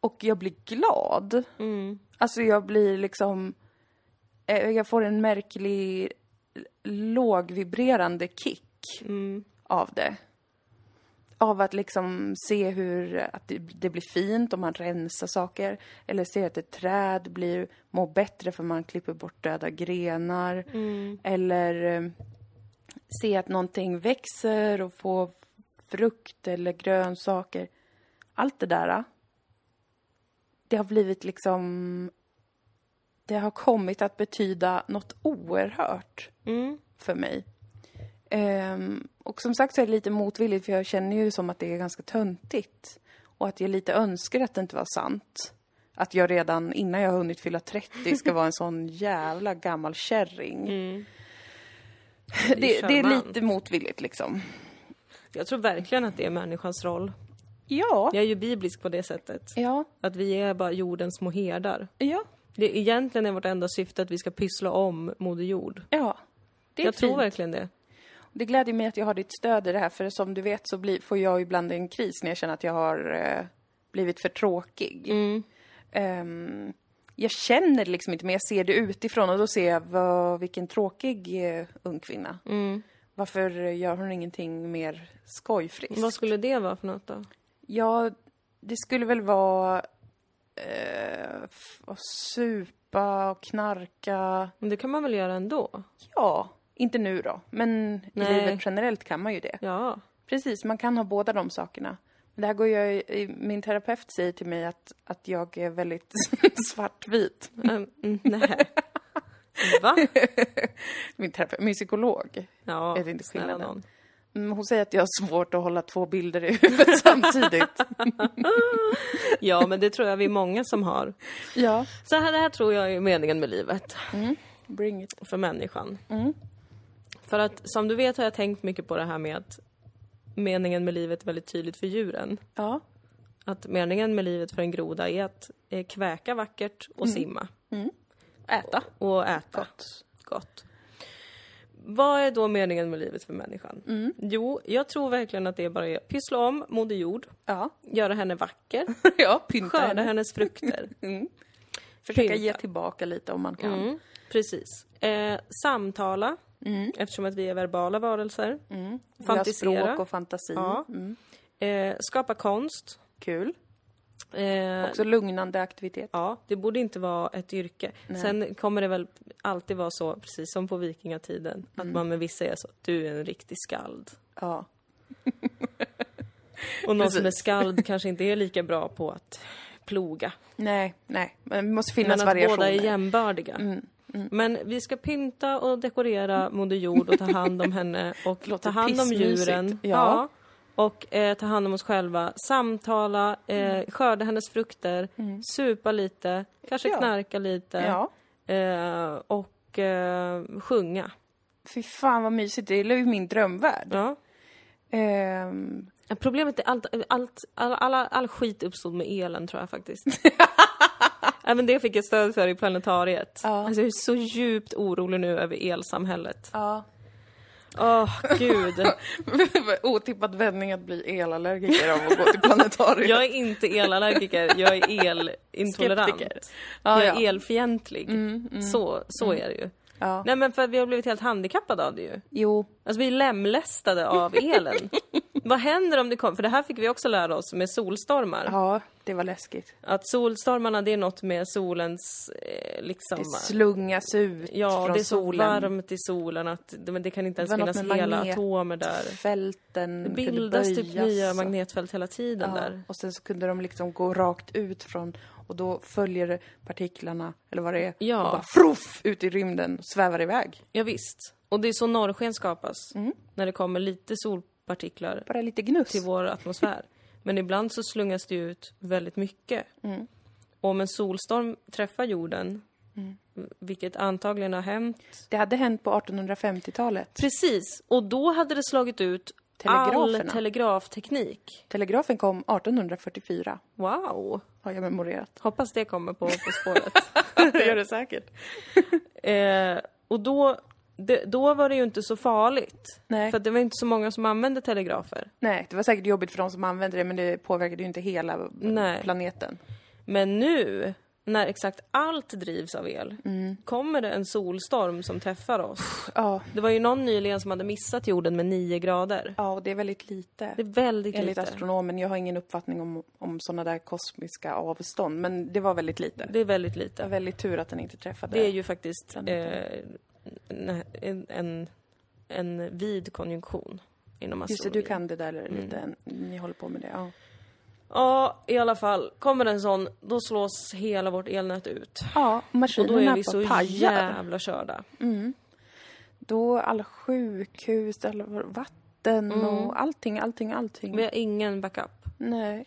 Speaker 1: Och jag blir glad. Alltså jag blir liksom... eh, Jag får en märklig lågvibrerande kick av det. Av att liksom se hur att det, det blir fint om man rensar saker. Eller se att ett träd blir, mår bättre för man klipper bort döda grenar. Eller eh, se att någonting växer och får frukt eller grönsaker. Allt det där. eh, Det har blivit liksom... Det har kommit att betyda något oerhört för mig. Ehm, och som sagt så är det lite motvilligt för jag känner ju som att det är ganska töntigt. Och att jag lite önskar att det inte var sant. Att jag redan innan jag har hunnit fylla 30 ska vara en sån jävla gammal kärring. Mm, Det, det, är
Speaker 2: charmant.
Speaker 1: lite motvilligt liksom.
Speaker 2: Jag tror verkligen att det är människans roll.
Speaker 1: Ja.
Speaker 2: Jag är ju biblisk på det sättet.
Speaker 1: Ja.
Speaker 2: Att vi är bara jordens små herdar.
Speaker 1: Ja.
Speaker 2: Det egentligen är vårt enda syfte att vi ska pyssla om Moder Jord.
Speaker 1: Ja. Det är
Speaker 2: Jag tror
Speaker 1: fint.
Speaker 2: verkligen det.
Speaker 1: Det gläder mig att jag har ditt stöd i det här, för som du vet så blir, får jag ibland en kris när jag känner att jag har eh, blivit för tråkig.
Speaker 2: Mm.
Speaker 1: Ehm, jag känner det liksom inte, men jag ser det utifrån och då ser jag vad, vilken tråkig eh, ung kvinna.
Speaker 2: Mm.
Speaker 1: Varför gör hon ingenting mer skojfriskt?
Speaker 2: Vad skulle det vara för något då?
Speaker 1: Ja, det skulle väl vara eh, f- att supa och knarka.
Speaker 2: Men det kan man väl göra ändå?
Speaker 1: Ja, inte nu då, men i
Speaker 2: Nej.
Speaker 1: livet generellt kan man ju det.
Speaker 2: Ja.
Speaker 1: Precis, man kan ha båda de sakerna. Men det här går jag, i- min terapeut säger till mig att, att jag är väldigt svartvit.
Speaker 2: Ehm, mm, nej. Va?
Speaker 1: Min, terapeut, min psykolog.
Speaker 2: Ja,
Speaker 1: Vet inte
Speaker 2: snälla
Speaker 1: skillnaden.
Speaker 2: nån.
Speaker 1: Mm, Hon säger att jag har svårt att hålla två bilder i huvudet samtidigt.
Speaker 2: Ja, men det tror jag vi är många som har.
Speaker 1: Ja.
Speaker 2: Så här, det här tror jag är meningen med livet
Speaker 1: Bring it.
Speaker 2: för människan. För att som du vet har jag tänkt mycket på det här med att meningen med livet är väldigt tydligt för djuren.
Speaker 1: Ja.
Speaker 2: Att meningen med livet för en groda är att eh, kväka vackert och simma.
Speaker 1: Mm. Äta.
Speaker 2: Och äta.
Speaker 1: Gott.
Speaker 2: Gott. Vad är då meningen med livet för människan?
Speaker 1: Mm.
Speaker 2: Jo, jag tror verkligen att det är bara är pyssla om Moder Jord,
Speaker 1: Ja.
Speaker 2: göra henne vacker,
Speaker 1: ja, pynta
Speaker 2: skörda
Speaker 1: henne.
Speaker 2: hennes frukter.
Speaker 1: Försöka
Speaker 2: pynta.
Speaker 1: ge tillbaka lite om man kan.
Speaker 2: Mm, precis. Eh, samtala, eftersom att vi är verbala varelser.
Speaker 1: Mm. Vi har
Speaker 2: Fantisera.
Speaker 1: språk Mm. och fantasi.
Speaker 2: Ja. eh, skapa konst.
Speaker 1: Kul.
Speaker 2: Eh,
Speaker 1: Också lugnande aktivitet.
Speaker 2: Ja, det borde inte vara ett yrke. Sen kommer det väl alltid vara så, precis som på vikingatiden,
Speaker 1: Mm.
Speaker 2: att man med vissa är så, du är en riktig skald.
Speaker 1: Ja.
Speaker 2: Och någon som är skald kanske inte är lika bra på att ploga.
Speaker 1: Nej, nej. Men det måste
Speaker 2: Men
Speaker 1: finnas
Speaker 2: att
Speaker 1: variationer. Mm,
Speaker 2: båda är jämbördiga. Men vi ska pynta och dekorera Moder Jord och ta hand om henne och
Speaker 1: Låter
Speaker 2: ta hand om
Speaker 1: pissmysigt.
Speaker 2: djuren.
Speaker 1: Ja.
Speaker 2: Och eh, ta hand om oss själva, samtala,
Speaker 1: Mm.
Speaker 2: eh, skörda hennes frukter, supa lite, kanske
Speaker 1: Ja.
Speaker 2: knarka lite.
Speaker 1: Ja.
Speaker 2: Eh, och eh, sjunga.
Speaker 1: Fy fan vad mysigt, det är ju min drömvärld.
Speaker 2: Ja.
Speaker 1: Ehm,
Speaker 2: Problemet är allt, allt, all, alla, all skit uppstod med elen tror jag faktiskt. Även det fick jag stöd för i planetariet.
Speaker 1: Ja.
Speaker 2: Alltså jag är så djupt orolig nu över elsamhället.
Speaker 1: ja.
Speaker 2: Åh gud.
Speaker 1: Otippad vändning att bli elallergiker av att gå till planetariet.
Speaker 2: Jag är inte elallergiker, jag är elintolerant.
Speaker 1: Skeptiker. Ja,
Speaker 2: Jag
Speaker 1: ja. Mm,
Speaker 2: är elfientlig. Så, så är det ju.
Speaker 1: Ja.
Speaker 2: Nej men för att vi har blivit helt handikappade av det ju.
Speaker 1: Jo,
Speaker 2: Alltså vi är lemlästade av elen. Vad händer om det kommer, för det här fick vi också lära oss med solstormar.
Speaker 1: ja, det var läskigt.
Speaker 2: Att solstormarna det är något med solens eh, liksom...
Speaker 1: Det slungas ut
Speaker 2: ja,
Speaker 1: från
Speaker 2: det är så
Speaker 1: solen.
Speaker 2: varmt i solen att det, men det kan inte ens
Speaker 1: Det var något
Speaker 2: finnas
Speaker 1: med
Speaker 2: hela
Speaker 1: magnet-
Speaker 2: atomer där.
Speaker 1: Fälten
Speaker 2: Det
Speaker 1: kunde
Speaker 2: bildas typ
Speaker 1: böjas
Speaker 2: nya
Speaker 1: och-
Speaker 2: magnetfält hela tiden
Speaker 1: ja.
Speaker 2: där.
Speaker 1: Och sen så kunde de liksom gå rakt ut från och då följer det partiklarna, eller vad det är,
Speaker 2: Ja.
Speaker 1: och bara froff ut i rymden och svävar iväg.
Speaker 2: Ja, visst. Och det är så norrsken skapas.
Speaker 1: Mm.
Speaker 2: När det kommer lite solpartiklar
Speaker 1: Bara lite gnuss.
Speaker 2: till vår atmosfär. Men ibland så slungas det ju ut väldigt mycket.
Speaker 1: Mm.
Speaker 2: Och om en solstorm träffar jorden,
Speaker 1: Mm.
Speaker 2: vilket antagligen har hänt
Speaker 1: Det hade hänt på 1850-talet.
Speaker 2: Precis, och då hade det slagit ut all
Speaker 1: Telegraferna.
Speaker 2: telegrafteknik.
Speaker 1: Telegrafen kom 1844,
Speaker 2: Wow!
Speaker 1: har jag memorerat.
Speaker 2: Hoppas det kommer på På spåret.
Speaker 1: det gör det säkert.
Speaker 2: eh, och då, det, då var det ju inte så farligt.
Speaker 1: Nej.
Speaker 2: För att det var inte så många som använde telegrafer.
Speaker 1: Nej, det var säkert jobbigt för de som använde det, men det påverkade ju inte hela
Speaker 2: Nej.
Speaker 1: planeten.
Speaker 2: Men nu, när exakt allt drivs av el,
Speaker 1: Mm.
Speaker 2: kommer det en solstorm som träffar oss.
Speaker 1: Ja,
Speaker 2: Det var ju någon nyligen som hade missat jorden med 9 grader.
Speaker 1: ja och det är väldigt lite.
Speaker 2: Det är väldigt
Speaker 1: Enligt
Speaker 2: lite.
Speaker 1: astronomen, jag har ingen uppfattning om, om sådana där kosmiska avstånd, men det var väldigt lite.
Speaker 2: Det är väldigt
Speaker 1: Det var
Speaker 2: lite.
Speaker 1: väldigt tur att den inte träffade.
Speaker 2: Det är ju faktiskt
Speaker 1: Den
Speaker 2: eh, en- en, en, en vid konjunktion inom
Speaker 1: Just det, du
Speaker 2: astrologi.
Speaker 1: kan det där lite,
Speaker 2: Mm.
Speaker 1: ni håller på med det. Ja,
Speaker 2: Ja, i alla fall. Kommer en sån, då slås hela vårt elnät ut.
Speaker 1: ja
Speaker 2: Och då är
Speaker 1: maskinerna
Speaker 2: vi så
Speaker 1: bara pajar. Mm.
Speaker 2: jävla körda.
Speaker 1: Då alla sjukhus, alla vatten
Speaker 2: Mm.
Speaker 1: och allting, allting, allting.
Speaker 2: Vi har ingen backup.
Speaker 1: Nej.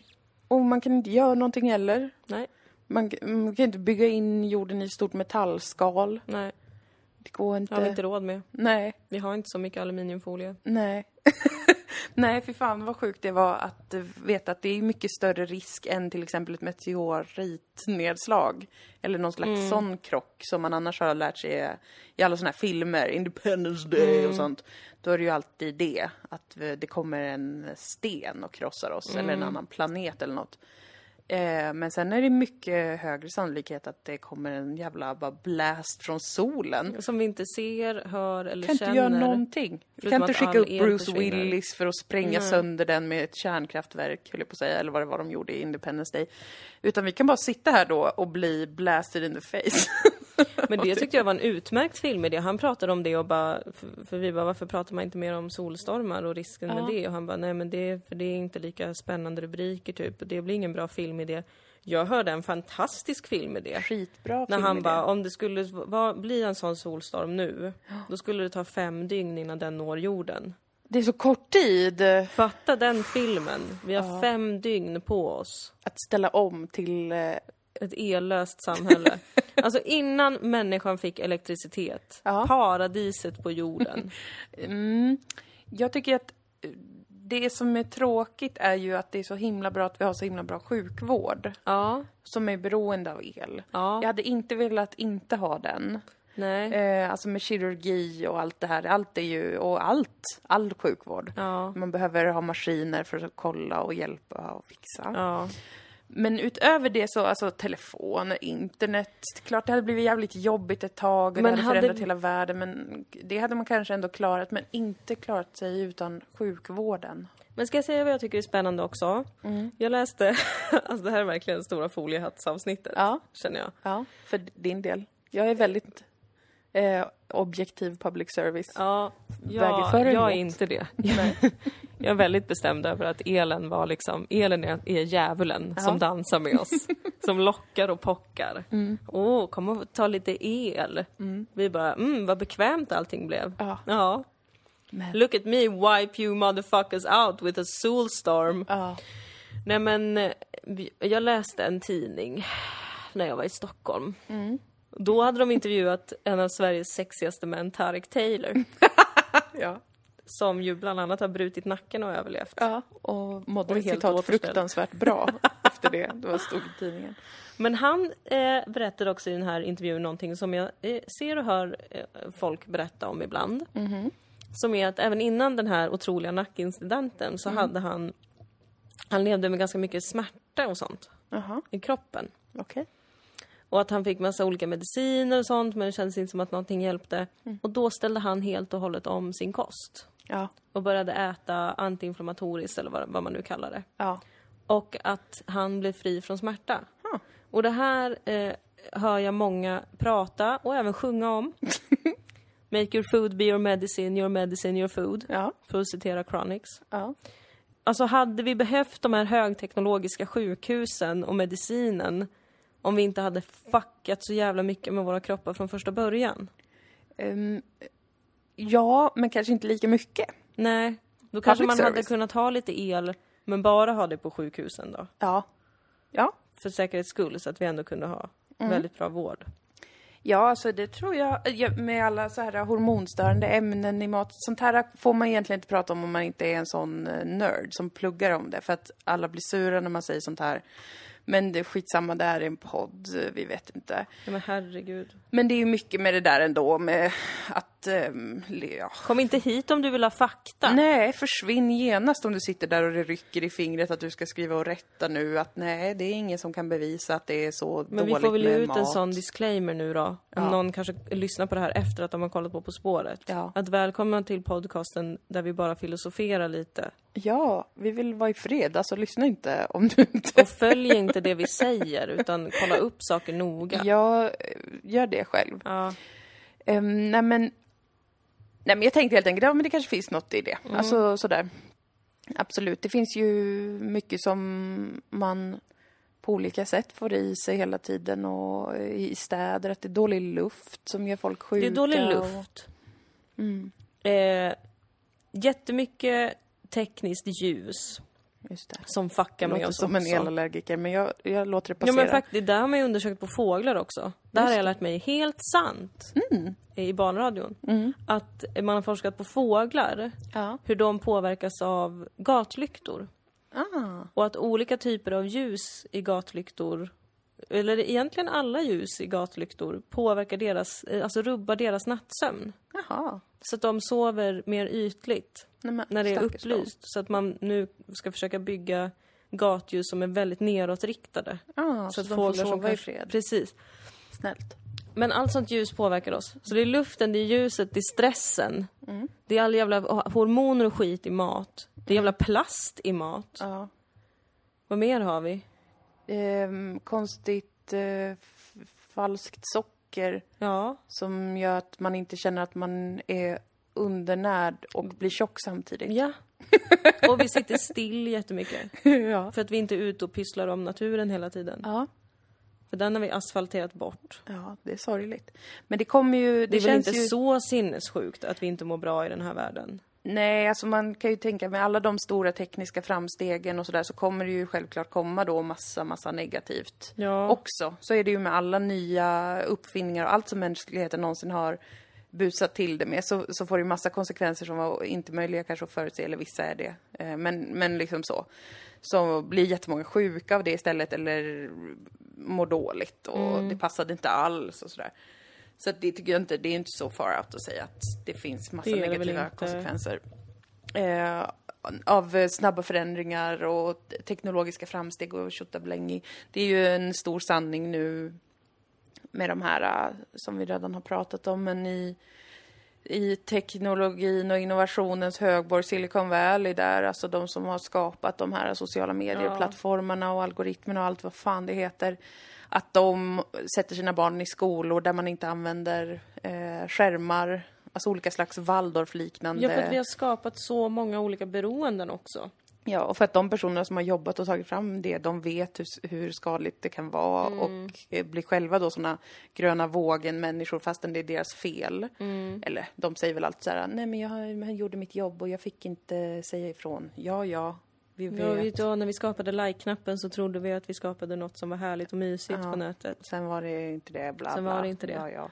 Speaker 1: Och man kan inte göra någonting heller.
Speaker 2: Nej,
Speaker 1: Man, man kan inte bygga in jorden i ett stort metallskal.
Speaker 2: nej.
Speaker 1: Det går
Speaker 2: Det
Speaker 1: inte.
Speaker 2: har vi inte råd med.
Speaker 1: Nej,
Speaker 2: Vi har inte så mycket aluminiumfolie.
Speaker 1: nej. nej, för fan vad sjukt det var att eh, veta att det är mycket större risk än till exempel ett meteoritnedslag. Eller någon slags sån krock som man annars har lärt sig eh, i alla såna här filmer, Independence Day och sånt. Då är det ju alltid det, att eh, det kommer en sten och krossar oss, eller en annan planet eller något. Eh, men sen är det mycket högre sannolikhet att det kommer en jävla bara blast från solen
Speaker 2: Som vi inte ser, hör eller
Speaker 1: kan
Speaker 2: känner.
Speaker 1: inte göra någonting. Vi kan
Speaker 2: Förutom
Speaker 1: inte
Speaker 2: att all
Speaker 1: skicka upp
Speaker 2: el
Speaker 1: Bruce
Speaker 2: försvinner.
Speaker 1: Willis för att spränga sönder den med ett kärnkraftverk, höll jag på att säga, eller vad det var de gjorde i Independence Day. Utan vi kan bara sitta här då och bli blasted in the face.
Speaker 2: Men det tyckte jag var en utmärkt filmidé. Han pratade om det och bara, för, för vi bara, varför pratar man inte mer om solstormar och risken med det? Och han bara, nej men det, för det är inte lika spännande rubriker typ. Och det blir ingen bra filmidé. Jag hörde en fantastisk filmidé.
Speaker 1: Skitbra
Speaker 2: När
Speaker 1: film
Speaker 2: han
Speaker 1: i
Speaker 2: bara,
Speaker 1: det.
Speaker 2: om det skulle va, bli en sån solstorm nu, då skulle det ta fem dygn innan den når jorden.
Speaker 1: Det är så kort tid eh,
Speaker 2: Fatta den filmen. Vi har fem dygn på oss.
Speaker 1: att ställa om till... eh,
Speaker 2: Ett ellöst samhälle. Alltså innan människan fick elektricitet,
Speaker 1: Ja.
Speaker 2: paradiset på jorden.
Speaker 1: Mm. Jag tycker att eh, det som är tråkigt är ju att det är så himla bra att vi har så himla bra sjukvård
Speaker 2: Ja,
Speaker 1: som är beroende av el.
Speaker 2: ja,
Speaker 1: Jag hade inte velat inte ha den.
Speaker 2: nej.
Speaker 1: Eh, alltså med kirurgi och allt det här. Allt är ju, och allt, all sjukvård.
Speaker 2: Ja,
Speaker 1: Man behöver ha maskiner för att kolla och hjälpa och fixa.
Speaker 2: ja,
Speaker 1: Men utöver det så, alltså telefon, internet, klart det hade blivit jävligt jobbigt ett tag och
Speaker 2: Men
Speaker 1: det hade,
Speaker 2: hade-
Speaker 1: förändrat hela världen men det hade man kanske ändå klarat men inte klarat sig utan sjukvården.
Speaker 2: Men ska jag säga vad jag tycker är spännande också?
Speaker 1: Mm.
Speaker 2: Jag läste, alltså det här är verkligen stora foliehattsavsnittet,
Speaker 1: Ja.
Speaker 2: känner jag.
Speaker 1: Ja, för din del. Jag är väldigt eh, objektiv public service.
Speaker 2: Ja,
Speaker 1: Väger
Speaker 2: jag,
Speaker 1: för eller
Speaker 2: jag är
Speaker 1: emot?
Speaker 2: inte det. jag är väldigt bestämd över att elen var liksom, elen är, är djävulen som dansar med oss. som lockar och pockar. Åh,
Speaker 1: Mm.
Speaker 2: kom och ta lite el. Vi bara, mm, vad bekvämt allting blev.
Speaker 1: Ja.
Speaker 2: ja.
Speaker 1: Men-
Speaker 2: Look at me, wipe you motherfuckers out with a solstorm.
Speaker 1: Ja.
Speaker 2: Nej men, eh, vi- jag läste en tidning när jag var i Stockholm. Då hade de intervjuat en av Sveriges sexigaste män, Tarek Taylor.
Speaker 1: Ja.
Speaker 2: Som ju bland annat har brutit nacken och överlevt.
Speaker 1: ja. Och mådde
Speaker 2: Och helt
Speaker 1: citat
Speaker 2: återställd.
Speaker 1: fruktansvärt bra efter det. Det var stod i tidningen.
Speaker 2: Men han eh, berättade också i den här intervjun någonting som jag eh, ser och hör eh, folk berätta om ibland. Som är att även innan den här otroliga nackincidenten så hade han... Han levde med ganska mycket smärta och sånt
Speaker 1: Jaha,
Speaker 2: i kroppen.
Speaker 1: okej.
Speaker 2: Och att han fick massa olika mediciner och sånt men det kändes inte som att någonting hjälpte. Och då ställde han helt och hållet om sin kost.
Speaker 1: Ja.
Speaker 2: Och började äta antiinflammatoriskt eller vad, vad man nu kallar det.
Speaker 1: Ja.
Speaker 2: Och att han blev fri från smärta.
Speaker 1: Huh.
Speaker 2: Och det här eh, hör jag många prata och även sjunga om. Make your food be your medicine, your medicine your food.
Speaker 1: Ja.
Speaker 2: För att citera Chronics.
Speaker 1: Ja.
Speaker 2: Alltså hade vi behövt de här högteknologiska sjukhusen och medicinen om vi inte hade fuckat så jävla mycket med våra kroppar från första början?
Speaker 1: Ehm, ja, men kanske inte lika mycket.
Speaker 2: Nej, då kanske man
Speaker 1: Public
Speaker 2: hade
Speaker 1: service.
Speaker 2: kunnat ha lite el men bara ha det på sjukhusen då.
Speaker 1: Ja. Ja,
Speaker 2: För säkerhets skull så att vi ändå kunde ha väldigt bra vård.
Speaker 1: Ja, alltså det tror jag. Ja, Med alla så här hormonstörande ämnen i mat. Sånt här får man egentligen inte prata om om man inte är en sån eh, nörd som pluggar om det. För att alla blir sura när man säger sånt här. Men det är skitsamma, det här är en podd, eh, vi vet inte.
Speaker 2: Ja, men herregud.
Speaker 1: Men det är ju mycket med det där ändå med att... ehm, le- ja.
Speaker 2: Kom inte hit om du vill ha fakta.
Speaker 1: Nej, försvinn genast om du sitter där och det rycker i fingret att du ska skriva och rätta nu. Att nej, det är ingen som kan bevisa att det är så
Speaker 2: Men vi
Speaker 1: dåligt
Speaker 2: får väl ge
Speaker 1: med
Speaker 2: ut
Speaker 1: mat.
Speaker 2: en sån disclaimer nu då. Om
Speaker 1: Ja.
Speaker 2: någon kanske lyssnar på det här efter att de har kollat på På spåret.
Speaker 1: Ja.
Speaker 2: Att välkomna till podcasten där vi bara filosoferar lite.
Speaker 1: Ja, vi vill vara i fred, alltså lyssna inte om du inte...
Speaker 2: Och följ inte det vi säger utan kolla upp saker noga.
Speaker 1: Jag eh, gör det själv.
Speaker 2: Ja.
Speaker 1: Ehm, nej, men, nej, men jag tänkte helt enkelt, ja men det kanske finns något i
Speaker 2: Mm.
Speaker 1: det. Alltså sådär. Absolut, det finns ju mycket som man på olika sätt får i sig hela tiden och i städer, att det är dålig luft som gör folk sjuka.
Speaker 2: Det är dålig
Speaker 1: och- Mm,
Speaker 2: luft. Eh, jättemycket tekniskt ljus
Speaker 1: Just det.
Speaker 2: som fuckar
Speaker 1: Jag
Speaker 2: med
Speaker 1: låter
Speaker 2: oss
Speaker 1: som en
Speaker 2: också.
Speaker 1: elallergiker, men jag, jag låter det
Speaker 2: Ja
Speaker 1: passera.
Speaker 2: men faktiskt, det här har man ju undersökt på fåglar också. Det här har jag lärt mig helt sant
Speaker 1: Mm.
Speaker 2: i barnradion. Att man har forskat på fåglar,
Speaker 1: Ja.
Speaker 2: hur de påverkas av gatlyktor.
Speaker 1: Ah,
Speaker 2: Och att olika typer av ljus i gatlyktor, eller egentligen alla ljus i gatlyktor, påverkar deras, eh, alltså rubbar deras nattsömn.
Speaker 1: jaha.
Speaker 2: Så att de sover mer ytligt
Speaker 1: Nej, men
Speaker 2: när det är
Speaker 1: stackars dem.
Speaker 2: upplyst. Så att man nu ska försöka bygga gatljus som är väldigt nedåtriktade.
Speaker 1: Ah, så,
Speaker 2: att
Speaker 1: de får
Speaker 2: fåglar som
Speaker 1: sova i
Speaker 2: kanske-
Speaker 1: fred.
Speaker 2: Precis.
Speaker 1: Snällt.
Speaker 2: Men allt sånt ljus påverkar oss. Så det är luften, det är ljuset, det är stressen.
Speaker 1: Mm.
Speaker 2: Det är alla jävla hormoner och skit i mat. Det är jävla plast i mat.
Speaker 1: Ja.
Speaker 2: Vad mer har vi?
Speaker 1: Ehm, konstigt eh, f- falskt socker
Speaker 2: Ja,
Speaker 1: som gör att man inte känner att man är undernärd och blir tjock samtidigt.
Speaker 2: ja. Och vi sitter still jättemycket.
Speaker 1: ja.
Speaker 2: För att vi inte är ute och pysslar om naturen hela tiden.
Speaker 1: Ja,
Speaker 2: För den har vi asfalterat bort.
Speaker 1: ja, det är sorgligt. Men det kommer ju... Det,
Speaker 2: Det, är väl
Speaker 1: känns
Speaker 2: inte
Speaker 1: ju...
Speaker 2: så sinnessjukt att vi inte mår bra i den här världen?
Speaker 1: Nej, alltså man kan ju tänka med alla de stora tekniska framstegen och sådär så kommer det ju självklart komma då massa, massa negativt
Speaker 2: Ja.
Speaker 1: också. Så är det ju med alla nya uppfinningar och allt som mänskligheten någonsin har busat till det med så, så får det ju massa konsekvenser som var inte möjliga kanske att förutse, eller vissa är det. Eh, Men, men liksom så. Så blir jättemånga sjuka av det istället eller mår dåligt och
Speaker 2: Mm.
Speaker 1: det passade inte alls och sådär. Så att det tycker jag inte, det är inte så far out att säga att det finns massa
Speaker 2: Det är det väl
Speaker 1: negativa
Speaker 2: inte.
Speaker 1: konsekvenser. Eh, av eh, snabba förändringar och te- teknologiska framsteg och tjottabelängi. Det är ju en stor sanning nu med de här eh, som vi redan har pratat om, men i, i teknologin och innovationens högborg Silicon Valley där, alltså de som har skapat de här sociala medieplattformarna och algoritmerna och allt vad fan det heter, att de sätter sina barn i skolor där man inte använder eh, skärmar, alltså olika slags Waldorf-liknande.
Speaker 2: Ja, för att vi har skapat så många olika beroenden också.
Speaker 1: Ja, och för att de personerna som har jobbat och tagit fram det, de vet hur, hur skadligt det kan vara
Speaker 2: Mm.
Speaker 1: och eh, blir själva då såna gröna vågen-människor fastän det är deras fel.
Speaker 2: Mm.
Speaker 1: Eller de säger väl alltid så här, nej men jag, har- jag gjorde mitt jobb och jag fick inte säga ifrån. Ja, ja, vi vet.
Speaker 2: Ja, vi, då, när vi skapade like-knappen så trodde vi att vi skapade något som var härligt och mysigt på nätet.
Speaker 1: Sen var det inte det, bla
Speaker 2: Sen
Speaker 1: bla.
Speaker 2: var det inte det.
Speaker 1: Ja, ja.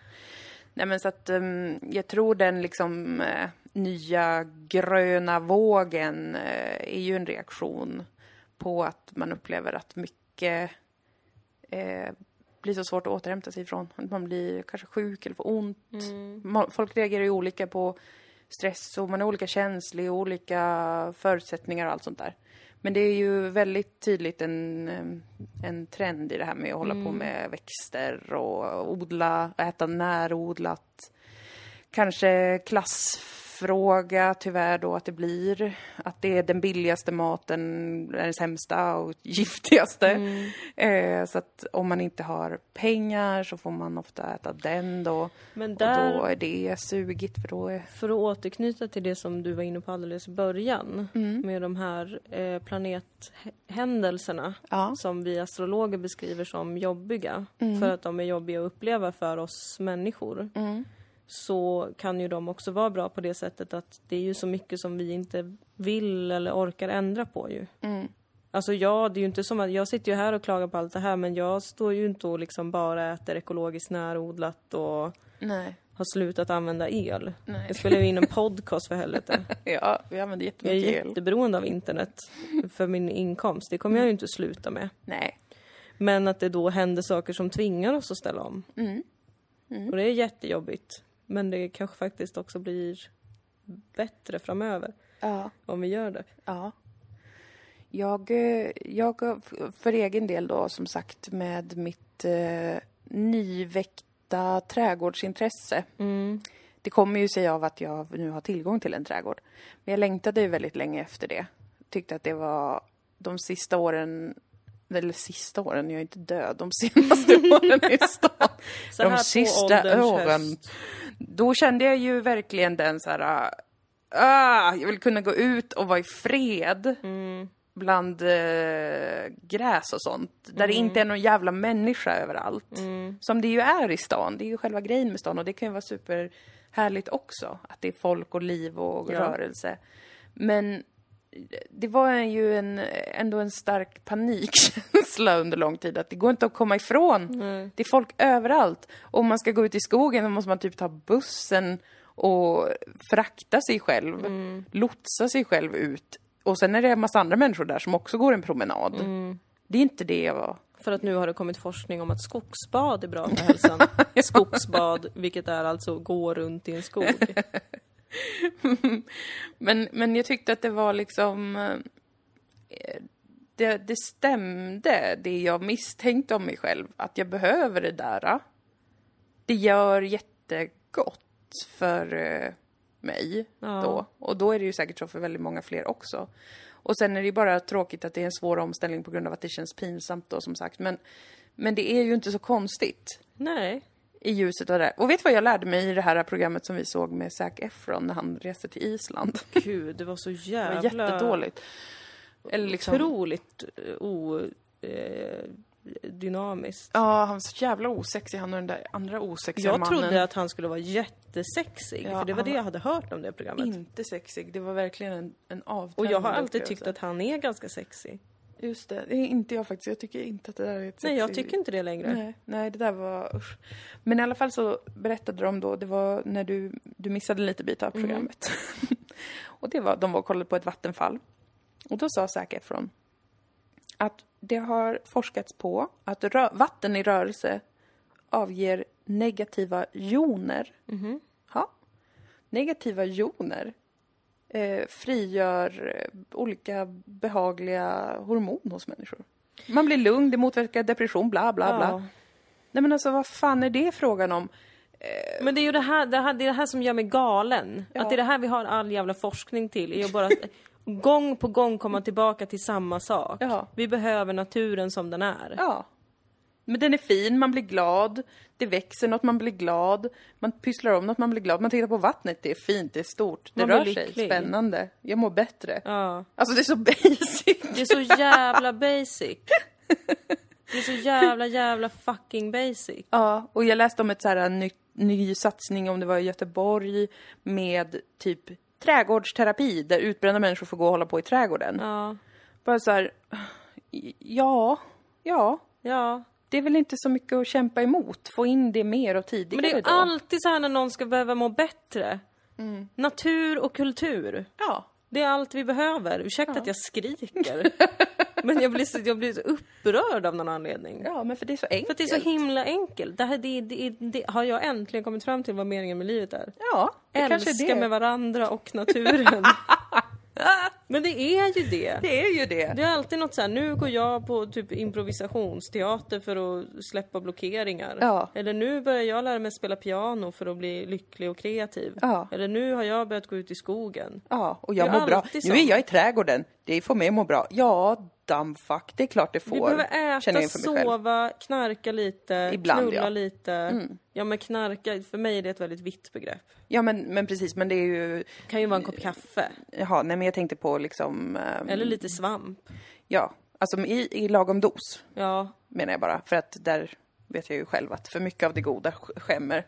Speaker 1: Nej men så att ehm, jag tror den liksom eh, nya gröna vågen eh, är ju en reaktion på att man upplever att mycket eh, blir så svårt att återhämta sig ifrån. Att Man blir kanske sjuk eller får ont.
Speaker 2: Mm.
Speaker 1: Man, folk reagerar ju olika på stress och man är olika känslig och olika förutsättningar och allt sånt där. Men det är ju väldigt tydligt en, eh, en trend i det här med att hålla på med växter och odla, äta närodlat. Kanske klassfråga tyvärr då att det blir att det är den billigaste maten, är den sämsta och giftigaste. Eh, så att om man inte har pengar så får man ofta äta den då.
Speaker 2: Men
Speaker 1: Och då
Speaker 2: där,
Speaker 1: är det sugigt för då är...
Speaker 2: för att återknyta till det som du var inne på alldeles i början med de här eh, planethändelserna
Speaker 1: Ja.
Speaker 2: som vi astrologer beskriver som jobbiga för att de är jobbiga att uppleva för oss människor. så kan ju de också vara bra på det sättet att det är ju så mycket som vi inte vill eller orkar ändra på ju. Alltså ja, det är ju inte som att jag sitter ju här och klagar på allt det här men jag står ju inte och liksom bara äter ekologiskt närodlat och
Speaker 1: Nej.
Speaker 2: har slutat använda el.
Speaker 1: Nej.
Speaker 2: Jag spelar ju in en podcast för helvete.
Speaker 1: Ja, vi använder
Speaker 2: Jag är
Speaker 1: jättemycket el.
Speaker 2: jätteberoende av internet för min inkomst. Det kommer jag ju inte att sluta med.
Speaker 1: Nej.
Speaker 2: Men att det då händer saker som tvingar oss att ställa
Speaker 1: Mm.
Speaker 2: om. Och det är jättejobbigt. Men det kanske faktiskt också blir bättre framöver
Speaker 1: Ja.
Speaker 2: om vi gör det.
Speaker 1: Ja. Jag, eh, jag har f- för egen del då som sagt med mitt eh, nyväckta trädgårdsintresse.
Speaker 2: Mm.
Speaker 1: Det kommer ju sig av att jag nu har tillgång till en trädgård. Men jag längtade ju väldigt länge efter det. Tyckte att det var de sista åren, eller sista åren, jag är inte död, de senaste åren i stan.
Speaker 2: Så här
Speaker 1: De
Speaker 2: på
Speaker 1: sista
Speaker 2: ålderns
Speaker 1: åren.
Speaker 2: höst.
Speaker 1: Då kände jag ju verkligen den så här, ah, jag vill kunna gå ut och vara i fred bland eh, gräs och sånt. Där det inte är någon jävla människa överallt. Som det ju är i stan. Det är ju själva grejen med stan och det kan ju vara superhärligt också. Att det är folk och liv och
Speaker 2: Ja.
Speaker 1: rörelse. Men det var ju en, ändå en stark panikkänsla under lång tid. Att det går inte att komma ifrån. Det är folk överallt. Och om man ska gå ut i skogen då måste man typ ta bussen och frakta sig själv. Lotsa sig själv ut. Och sen är det en massa andra människor där som också går en promenad. Det är inte det jag var.
Speaker 2: För att nu har det kommit forskning om att skogsbad är bra för hälsan. Skogsbad, vilket är alltså gå runt i en skog.
Speaker 1: Men, men jag tyckte att det var liksom... eh, Det, det stämde, det jag misstänkte om mig själv. Att jag behöver det där. Det gör jättegott för eh, mig
Speaker 2: Ja.
Speaker 1: då. Och då är det ju säkert så för väldigt många fler också. Och sen är det ju bara tråkigt att det är en svår omställning på grund av att det känns pinsamt då som sagt. Men, men det är ju inte så konstigt
Speaker 2: Nej.
Speaker 1: i ljuset av det. Och vet du vad jag lärde mig i det här programmet som vi såg med Zac Efron när han reste till Island?
Speaker 2: Gud, det var så
Speaker 1: Det var
Speaker 2: jävla...
Speaker 1: jättedåligt. Eller liksom,
Speaker 2: Otroligt eh, o... Eh, dynamiskt.
Speaker 1: Ja, han var så jävla osexig, han och den där andra osexiga
Speaker 2: Jag
Speaker 1: mannen.
Speaker 2: trodde att han skulle vara jättesexig,
Speaker 1: Ja,
Speaker 2: för det var
Speaker 1: han
Speaker 2: det
Speaker 1: var-
Speaker 2: jag hade hört om det programmet.
Speaker 1: Inte sexig, det var verkligen en, en
Speaker 2: Och
Speaker 1: avtändande
Speaker 2: jag har alltid
Speaker 1: upplevelse.
Speaker 2: tyckt att han är ganska sexig.
Speaker 1: Just det, det är inte jag faktiskt. Jag tycker inte att det där är ett
Speaker 2: Nej, jag
Speaker 1: sexigt-
Speaker 2: tycker inte det längre.
Speaker 1: Nej, nej, det där var usch. Men i alla fall så berättade de då, det var när du, du missade lite bit av
Speaker 2: Mm.
Speaker 1: programmet. och det var, de var och kollade på ett vattenfall. Och då sa Zac Efron att det har forskats på att rö- vatten i rörelse avger negativa joner.
Speaker 2: Mhm.
Speaker 1: Ja. Negativa joner eh, frigör eh, olika behagliga hormon hos människor. Man blir lugn, det motverkar depression, bla bla bla.
Speaker 2: Ja.
Speaker 1: Nej men alltså vad fan är det frågan om?
Speaker 2: Men det är ju det här, det här, det är det här som gör mig galen.
Speaker 1: Ja.
Speaker 2: Att det är det här vi har all jävla forskning till. Är att bara gång på gång komma tillbaka till samma sak.
Speaker 1: Ja.
Speaker 2: Vi behöver naturen som den är.
Speaker 1: Ja. Men den är fin, man blir glad. Det växer något, man blir glad. Man pysslar om något, man blir glad. Man tittar på vattnet, det är fint, det är stort. Det
Speaker 2: Man blir
Speaker 1: rör sig,
Speaker 2: lycklig.
Speaker 1: spännande. Jag mår bättre.
Speaker 2: Ja.
Speaker 1: Alltså det är så basic.
Speaker 2: Det är så jävla basic. Det är så jävla jävla fucking basic.
Speaker 1: Ja, och jag läste om ett så här ny, ny satsning, om det var i Göteborg, med typ trädgårdsterapi, där utbrända människor får gå och hålla på i trädgården.
Speaker 2: Ja.
Speaker 1: Bara så här, ja, ja.
Speaker 2: Ja.
Speaker 1: Det är väl inte så mycket att kämpa emot, få in det mer och
Speaker 2: Men
Speaker 1: tidigare
Speaker 2: det är
Speaker 1: då. Mm.
Speaker 2: alltid så här när någon ska behöva må bättre. Natur och kultur.
Speaker 1: Ja.
Speaker 2: Det är allt vi behöver. Ursäkta att jag skriker. Men jag blir, så, jag blir så upprörd av någon anledning.
Speaker 1: ja, men för det är så enkelt.
Speaker 2: För att det är så himla enkelt. Det här det, det, det har jag äntligen kommit fram till vad meningen med livet är.
Speaker 1: Ja, det kanske är
Speaker 2: Älska
Speaker 1: det.
Speaker 2: med varandra och naturen. Men det är ju det.
Speaker 1: det är ju det.
Speaker 2: Det är alltid något så här, nu går jag på typ improvisationsteater för att släppa blockeringar.
Speaker 1: Ja.
Speaker 2: Eller nu börjar jag lära mig spela piano för att bli lycklig och kreativ.
Speaker 1: Ja.
Speaker 2: Eller nu har jag börjat gå ut i skogen.
Speaker 1: Ja, och
Speaker 2: Det
Speaker 1: jag
Speaker 2: är
Speaker 1: mår bra.
Speaker 2: alltid så.
Speaker 1: Nu är jag i trädgården. Det får mig att må bra. Ja, dammfuck, det är klart det får.
Speaker 2: Vi behöver
Speaker 1: känner jag
Speaker 2: äta,
Speaker 1: inför mig själv.
Speaker 2: sova, knarka lite,
Speaker 1: Ibland,
Speaker 2: knulla
Speaker 1: ja. Mm.
Speaker 2: lite. Ja men knarka, för mig är det ett väldigt vitt begrepp.
Speaker 1: Ja, men, men precis, men det är ju...
Speaker 2: Kan ju vara en kopp kaffe.
Speaker 1: Jaha, nej men jag tänkte på liksom... ehm,
Speaker 2: Eller lite svamp.
Speaker 1: Ja, alltså i, i lagom dos
Speaker 2: Ja,
Speaker 1: menar jag bara. För att där vet jag ju själv att för mycket av det goda sk- skämmer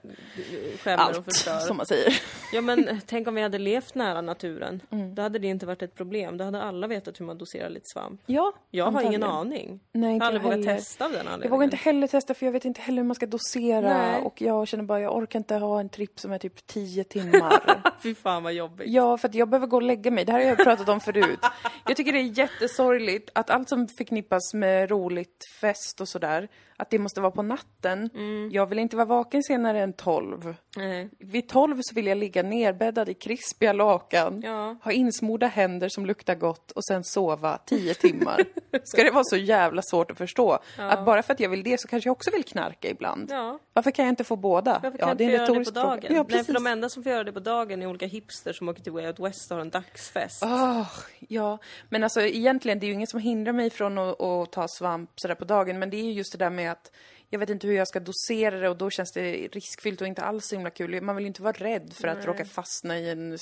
Speaker 2: skämmer och
Speaker 1: allt,
Speaker 2: förstör.
Speaker 1: som man säger.
Speaker 2: Ja men tänk om vi hade levt nära naturen.
Speaker 1: Mm.
Speaker 2: Då hade det inte varit ett problem. Då hade alla vetat hur man doserar lite svamp.
Speaker 1: Ja,
Speaker 2: Jag har ingen
Speaker 1: antagligen.
Speaker 2: aning.
Speaker 1: Nej,
Speaker 2: jag
Speaker 1: inte
Speaker 2: har aldrig
Speaker 1: jag
Speaker 2: vågat
Speaker 1: heller.
Speaker 2: testa av den anledningen.
Speaker 1: Jag vågar inte heller testa för jag vet inte heller hur man ska dosera
Speaker 2: Nej.
Speaker 1: och jag känner bara jag orkar inte ha en tripp som är typ 10 timmar.
Speaker 2: Fy fan vad jobbigt.
Speaker 1: ja, för att jag behöver gå och lägga mig. Det här har jag pratat om förut. Jag tycker det är jättesorgligt att allt som förknippas med roligt, fest och sådär, att det måste vara på natten. Jag vill inte vara vaken senare än 12.
Speaker 2: Mm. Nej.
Speaker 1: Vid 12 så vill jag ligga nerbäddad i krispiga lakan,
Speaker 2: Ja.
Speaker 1: ha insmorda händer som luktar gott och sen sova 10 timmar. Ska det vara så jävla svårt att förstå? Att bara för att jag vill det så kanske jag också vill knarka ibland.
Speaker 2: Ja.
Speaker 1: Varför kan jag inte få båda?
Speaker 2: Varför
Speaker 1: Ja,
Speaker 2: kan inte göra det på
Speaker 1: retorisk fråga.
Speaker 2: dagen?
Speaker 1: Ja,
Speaker 2: Nej,
Speaker 1: precis.
Speaker 2: för de enda som får göra det på dagen är olika hipsters som åker till Way Out West och har en dagsfest.
Speaker 1: Ah, ja, men alltså egentligen, det är ju inget som hindrar mig från att, att ta svamp sådär på dagen, men det är ju just det där med att jag vet inte hur jag ska dosera det och då känns det riskfyllt och inte alls så himla kul. Man vill ju inte vara rädd för att råka fastna i en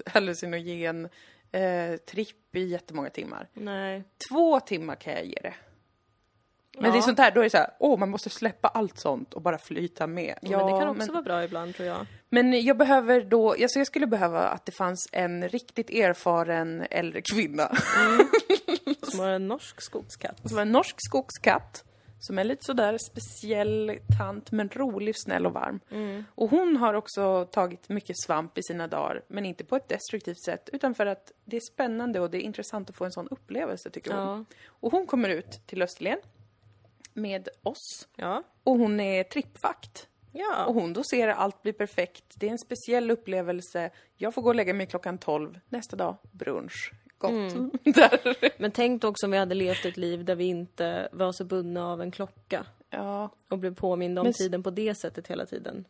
Speaker 1: superhallucinogen eh, tripp i jättemånga timmar.
Speaker 2: Nej.
Speaker 1: Två timmar kan jag ge det. Men det är
Speaker 2: Ja.
Speaker 1: sånt här, då är det så här, åh, man måste släppa allt sånt och bara flyta med.
Speaker 2: Ja, men det kan också
Speaker 1: men-
Speaker 2: vara bra ibland tror jag.
Speaker 1: men jag behöver då, alltså jag skulle behöva att det fanns en riktigt erfaren äldre kvinna.
Speaker 2: Som har en norsk skogskatt.
Speaker 1: Som var en norsk skogskatt. Som är lite sådär speciell tant men rolig, snäll och varm.
Speaker 2: Mm.
Speaker 1: Och hon har också tagit mycket svamp i sina dagar. Men inte på ett destruktivt sätt. Utan för att det är spännande och det är intressant att få en sån upplevelse tycker hon.
Speaker 2: Ja.
Speaker 1: Och hon kommer ut till Österlen. Med oss.
Speaker 2: Ja.
Speaker 1: Och hon är trippvakt. Och
Speaker 2: Ja.
Speaker 1: hon doserar, allt blir perfekt. Det är en speciell upplevelse. Jag får gå och lägga mig klockan 12. Nästa dag, brunch. Gott.
Speaker 2: Mm.
Speaker 1: Där.
Speaker 2: Men tänk då också om vi hade levt ett liv där vi inte var så bundna av en klocka.
Speaker 1: Ja.
Speaker 2: och blev påminda om
Speaker 1: Men s- Mm.
Speaker 2: tiden på det sättet hela tiden.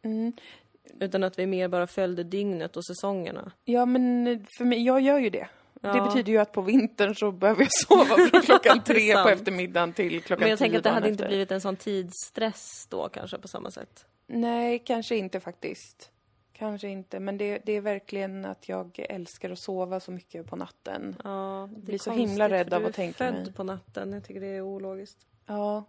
Speaker 2: Utan att vi mer bara följde dygnet och säsongerna.
Speaker 1: ja, men för mig, jag gör ju det. Det
Speaker 2: Ja.
Speaker 1: betyder ju att på vintern så behöver jag sova från klockan
Speaker 2: Det
Speaker 1: tre
Speaker 2: är sant.
Speaker 1: på eftermiddagen till klockan
Speaker 2: Men jag
Speaker 1: tio
Speaker 2: tänker att det
Speaker 1: dagen
Speaker 2: hade inte
Speaker 1: efter.
Speaker 2: blivit en sån tidsstress då kanske på samma sätt.
Speaker 1: Nej, kanske inte faktiskt. Kanske inte, men det, det är verkligen att jag älskar att sova så mycket på natten.
Speaker 2: Ja, det
Speaker 1: blir
Speaker 2: är
Speaker 1: så
Speaker 2: konstigt,
Speaker 1: himla rädd
Speaker 2: för
Speaker 1: av
Speaker 2: du
Speaker 1: att
Speaker 2: är
Speaker 1: tänka
Speaker 2: född
Speaker 1: mig.
Speaker 2: på natten. Jag tycker det är ologiskt.
Speaker 1: Ja,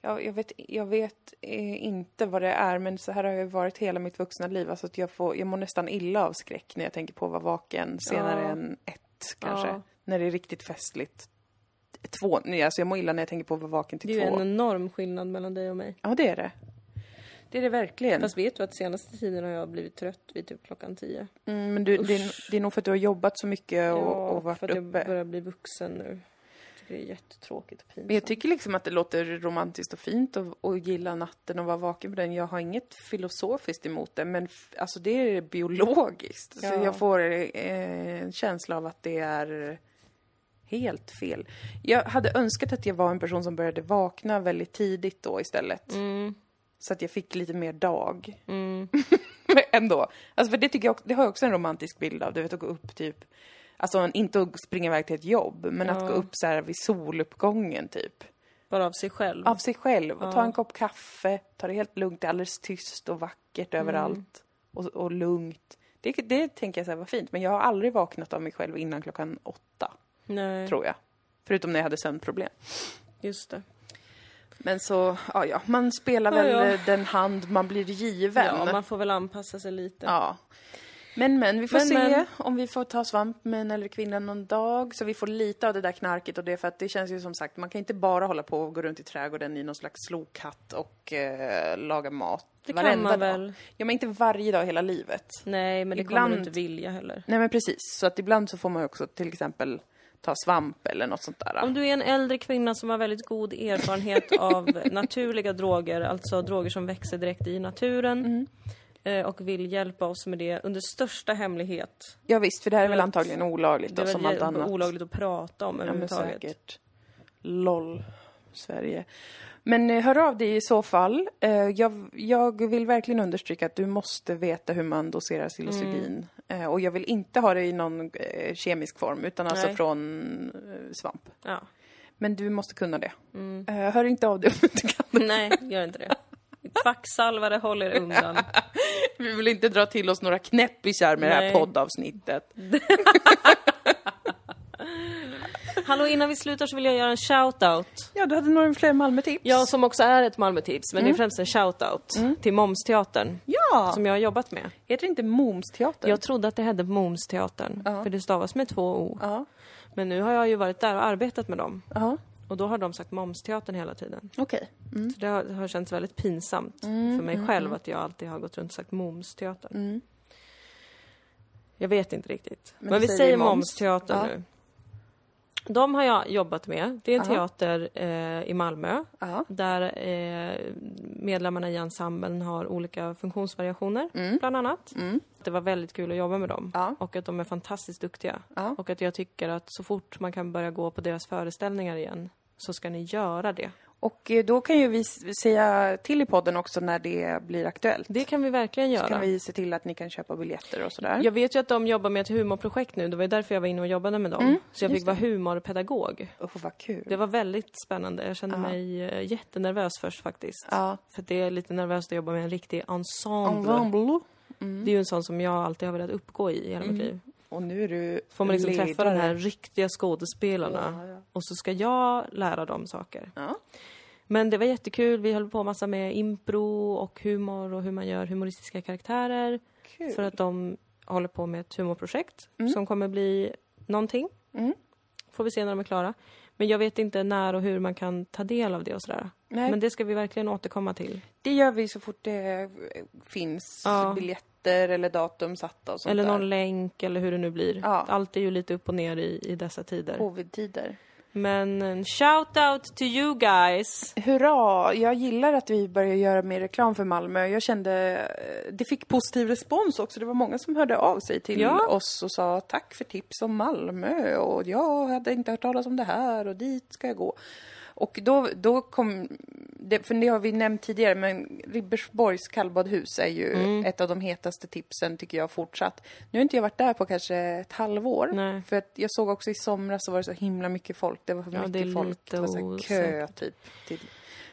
Speaker 1: Jag, jag, vet, jag vet eh, inte vad det är, men så här har jag varit hela mitt vuxna liv. Alltså att jag, får, jag mår nästan illa av skräck när jag tänker på att vara vaken senare
Speaker 2: Ja.
Speaker 1: än ett, kanske.
Speaker 2: Ja.
Speaker 1: När det är riktigt festligt. Två, nej, alltså jag mår illa när jag tänker på att vara vaken
Speaker 2: Det är
Speaker 1: till
Speaker 2: ju
Speaker 1: två.
Speaker 2: en enorm skillnad mellan dig och mig.
Speaker 1: Ja, det är det. Det är det verkligen.
Speaker 2: Fast vet du att senaste tiden har jag blivit trött vid typ klockan tio.
Speaker 1: Mm, men du, det, är, det är nog för att du har jobbat så mycket och, och varit
Speaker 2: för att
Speaker 1: uppe.
Speaker 2: jag börjar bli vuxen nu. Jag tycker det är jättetråkigt och pinsamt.
Speaker 1: Men jag tycker liksom att det låter romantiskt och fint och, och gilla natten och vara vaken på den. Jag har inget filosofiskt emot det, men f- alltså det är biologiskt. Så
Speaker 2: Ja.
Speaker 1: jag får eh, en känsla av att det är helt fel. Jag hade önskat att jag var en person som började vakna väldigt tidigt då istället.
Speaker 2: Mm,
Speaker 1: Så att jag fick lite mer dag
Speaker 2: mm.
Speaker 1: ändå. Alltså för det tycker jag också, det har jag också en romantisk bild av. Du vet att gå upp typ, alltså inte att springa iväg till ett jobb, men att
Speaker 2: Ja.
Speaker 1: gå upp så här vid soluppgången typ
Speaker 2: Bara av sig själv.
Speaker 1: av sig själv. Och ta
Speaker 2: Mm. Ja.
Speaker 1: en kopp kaffe, ta det helt lugnt, det är alldeles tyst och vackert
Speaker 2: Mm.
Speaker 1: överallt. Och, och lugnt. Det, det tänker jag så här var fint, men jag har aldrig vaknat av mig själv innan klockan åtta,
Speaker 2: Mm. Nej,
Speaker 1: tror jag. Förutom när jag hade sömnproblem.
Speaker 2: just det.
Speaker 1: Men så, ja ja, man spelar
Speaker 2: Ja,
Speaker 1: väl
Speaker 2: ja.
Speaker 1: eh, den hand man blir given.
Speaker 2: Ja,
Speaker 1: Ja,
Speaker 2: man får väl anpassa sig lite.
Speaker 1: Men men, vi får
Speaker 2: Men,
Speaker 1: se
Speaker 2: men.
Speaker 1: om vi får ta svamp med en eller kvinna någon dag. Så vi får lite av det där knarket och det, för att det känns ju som sagt, man kan inte bara hålla på och gå runt i trädgården i någon slags slokhatt och eh, laga mat
Speaker 2: Det kan
Speaker 1: varenda
Speaker 2: man
Speaker 1: dag.
Speaker 2: väl.
Speaker 1: Ja, men inte varje dag hela livet.
Speaker 2: Nej, men det
Speaker 1: Ibland-
Speaker 2: kommer du inte vilja heller.
Speaker 1: Nej, men precis. Så att ibland så får man ju också till exempel ta svamp eller något sånt där.
Speaker 2: Om du är en äldre kvinna som har väldigt god erfarenhet av naturliga droger, alltså droger som växer direkt i naturen eh, och vill hjälpa oss med det under största hemlighet.
Speaker 1: Ja, visst, för det här är väl
Speaker 2: Vet.
Speaker 1: antagligen olagligt
Speaker 2: Det
Speaker 1: då,
Speaker 2: är
Speaker 1: som allt
Speaker 2: väl
Speaker 1: annat.
Speaker 2: olagligt att prata om
Speaker 1: Ja, men
Speaker 2: överhuvudtaget.
Speaker 1: säkert. LOL, Sverige. Men eh, hör av dig i så fall. Eh, Jag, jag vill verkligen understryka att du måste veta hur man doserar psilocybin.
Speaker 2: Mm.
Speaker 1: Eh, Och jag vill inte ha det i någon eh, kemisk form, utan alltså
Speaker 2: Nej.
Speaker 1: från eh, svamp.
Speaker 2: ja.
Speaker 1: Men du måste kunna det.
Speaker 2: Mm.
Speaker 1: Eh, Hör inte av dig om du inte kan det.
Speaker 2: Nej, gör inte det. Kvacksalvare håller undan.
Speaker 1: Vi vill inte dra till oss några knäppisar med det här
Speaker 2: Nej.
Speaker 1: poddavsnittet.
Speaker 2: Hallå, innan vi slutar så vill jag göra en shout-out.
Speaker 1: Ja, du hade några fler Malmötips.
Speaker 2: Ja, som också är ett Malmötips, men det är främst en shout-out till Momsteatern.
Speaker 1: Ja.
Speaker 2: Som jag har jobbat med.
Speaker 1: Heter det inte Momsteatern?
Speaker 2: Jag trodde att det hette Momsteatern, för det stavas med två O.
Speaker 1: Ja.
Speaker 2: Men nu har jag ju varit där och arbetat med dem.
Speaker 1: Ja,
Speaker 2: Och då har de sagt Momsteatern hela tiden.
Speaker 1: okej.
Speaker 2: Så det har, det har känts väldigt pinsamt
Speaker 1: Mm,
Speaker 2: för mig själv att jag alltid har gått runt och sagt Momsteatern. Jag vet inte riktigt. Men,
Speaker 1: då
Speaker 2: vi
Speaker 1: säger vi
Speaker 2: säger
Speaker 1: moms.
Speaker 2: Momsteatern
Speaker 1: Ja.
Speaker 2: nu. De har jag jobbat med. Det är en
Speaker 1: Aha.
Speaker 2: teater eh, i Malmö
Speaker 1: Ja.
Speaker 2: där eh, medlemmarna i ensemblen har olika funktionsvariationer, bland annat. Det var väldigt kul att jobba med dem
Speaker 1: Mm. Ja.
Speaker 2: och att de är fantastiskt duktiga.
Speaker 1: Ja.
Speaker 2: Och att jag tycker att så fort man kan börja gå på deras föreställningar igen så ska ni göra det.
Speaker 1: Och eh, då kan ju vi s- säga till i podden också när det blir aktuellt.
Speaker 2: Det kan vi verkligen göra.
Speaker 1: kan vi se till att ni kan köpa biljetter och sådär.
Speaker 2: Jag vet ju att de jobbar med ett humorprojekt nu, det var ju därför jag var inne och jobbade med dem.
Speaker 1: Mm,
Speaker 2: så jag fick vara humorpedagog.
Speaker 1: Åh, vad kul.
Speaker 2: Det var väldigt spännande. Jag kände mig eh, jättenervös först faktiskt.
Speaker 1: Ja.
Speaker 2: För det är lite nervöst att jobba med en riktig ensemble.
Speaker 1: Ensemble.
Speaker 2: Det är ju en sån som jag alltid har velat uppgå i hela
Speaker 1: Mm.
Speaker 2: mitt liv.
Speaker 1: Och nu är du
Speaker 2: Får man liksom
Speaker 1: ledare.
Speaker 2: träffa de här riktiga skådespelarna och så ska jag lära dem saker.
Speaker 1: Ja.
Speaker 2: Men det var jättekul, vi höll på massa med impro och humor och hur man gör humoristiska karaktärer.
Speaker 1: Kul.
Speaker 2: För att de håller på med ett humorprojekt som kommer bli någonting.
Speaker 1: Mm.
Speaker 2: Får vi se när de är klara. Men jag vet inte när och hur man kan ta del av det och sådär.
Speaker 1: Nej.
Speaker 2: Men det ska vi verkligen återkomma till.
Speaker 1: Det gör vi så fort det eh, finns
Speaker 2: Ja.
Speaker 1: biljetter eller datum satta och sånt
Speaker 2: eller någon
Speaker 1: där.
Speaker 2: länk eller hur det nu blir.
Speaker 1: Ja.
Speaker 2: Allt är ju lite upp och ner i, i dessa tider.
Speaker 1: Covid-tider.
Speaker 2: Men en shout out to you guys!
Speaker 1: Hurra! Jag gillar att vi börjar göra mer reklam för Malmö. Jag kände, eh, det fick positiv respons också. Det var många som hörde av sig till
Speaker 2: Ja.
Speaker 1: oss och sa tack för tips om Malmö och jag hade inte hört talas om det här och dit ska jag gå. Och då, då kom, det, för det har vi nämnt tidigare, men Ribbersborgs kallbadhus är ju
Speaker 2: Mm.
Speaker 1: ett av de hetaste tipsen tycker jag fortsatt. Nu har inte jag varit där på kanske ett halvår.
Speaker 2: Nej.
Speaker 1: För att jag såg också i somras så var det så himla mycket folk. Det var för
Speaker 2: Ja, det
Speaker 1: mycket
Speaker 2: är
Speaker 1: folk.
Speaker 2: lite
Speaker 1: Det var så här kö
Speaker 2: osäkert.
Speaker 1: typ. Till.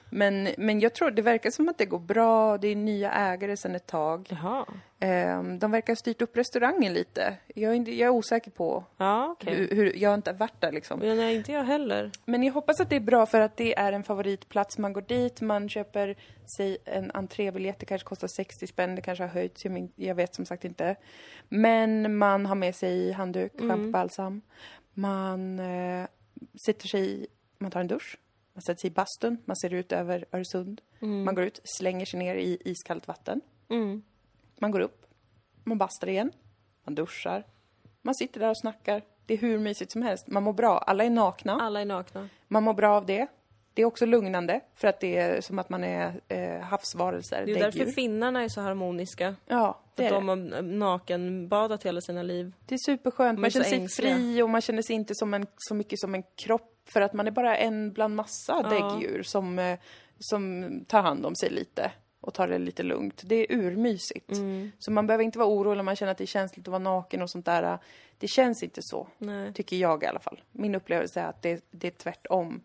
Speaker 1: Men, men jag tror, det verkar som att det går bra, det är nya ägare sedan ett tag.
Speaker 2: Jaha.
Speaker 1: Ehm, de verkar ha styrt upp restaurangen lite. Jag är, inte, jag är osäker på
Speaker 2: Ja, okej.
Speaker 1: hur, hur, jag har inte varit där liksom.
Speaker 2: Men nej, inte jag heller.
Speaker 1: Men jag hoppas att det är bra för att det är en favoritplats. Man går dit, man köper sig en entrébiljett. Det kanske kostar 60 spänn, det kanske har höjts. Jag, min- jag vet som sagt inte. Men man har med sig handduk, schampbalsam. Man eh, sätter sig i- man tar en dusch. Man sätter sig i bastun, man ser ut över Öresund. Man går ut, slänger sig ner i iskallt vatten.
Speaker 2: Mm.
Speaker 1: Man går upp, man bastar igen, man duschar. Man sitter där och snackar. Det är hur mysigt som helst. Man mår bra. Alla är nakna.
Speaker 2: Alla är nakna.
Speaker 1: Man mår bra av det. Det är också lugnande för att det är som att man är eh, havsvarelser,
Speaker 2: Det är ju därför
Speaker 1: däggdjur.
Speaker 2: finnarna är så harmoniska.
Speaker 1: Ja, det
Speaker 2: För
Speaker 1: är,
Speaker 2: att de
Speaker 1: det.
Speaker 2: har nakenbadat hela sina liv.
Speaker 1: det är superskönt. Man
Speaker 2: är så
Speaker 1: känner sig
Speaker 2: ängsliga.
Speaker 1: fri och man känner sig inte som en, så mycket som en kropp för att man är bara en bland massa däggdjur som, eh, som tar hand om sig lite och tar det lite lugnt. Det är urmysigt. Så man behöver inte vara orolig om man känner att det är känsligt att vara naken och sånt där. Det känns inte så.
Speaker 2: Nej.
Speaker 1: Tycker jag i alla fall. Min upplevelse är att det, det är tvärtom.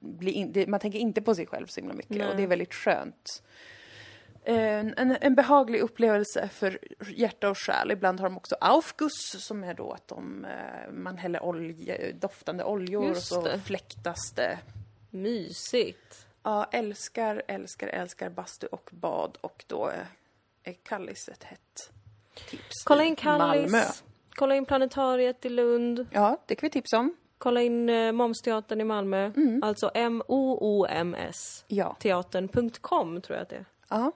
Speaker 1: Bli in, det, man tänker inte på sig själv så himla mycket och det är väldigt skönt. En, en, en behaglig upplevelse för hjärta och själ. Ibland har de också aufguss som är då att de, eh, man häller olje, doftande oljor
Speaker 2: Just
Speaker 1: och så
Speaker 2: det.
Speaker 1: fläktas det.
Speaker 2: Mysigt.
Speaker 1: Ja, älskar, älskar, älskar bastu och bad och då är, är Kallis ett hett tips.
Speaker 2: Kolla
Speaker 1: i
Speaker 2: in Kallis.
Speaker 1: Malmö.
Speaker 2: Kolla in Planetariet i Lund.
Speaker 1: Ja, det kan vi tipsa om.
Speaker 2: Kolla in eh, Momsteatern i Malmö.
Speaker 1: Mm.
Speaker 2: Alltså M-O-O-M-S.
Speaker 1: Ja,
Speaker 2: Teatern.com tror jag att det är.
Speaker 1: ja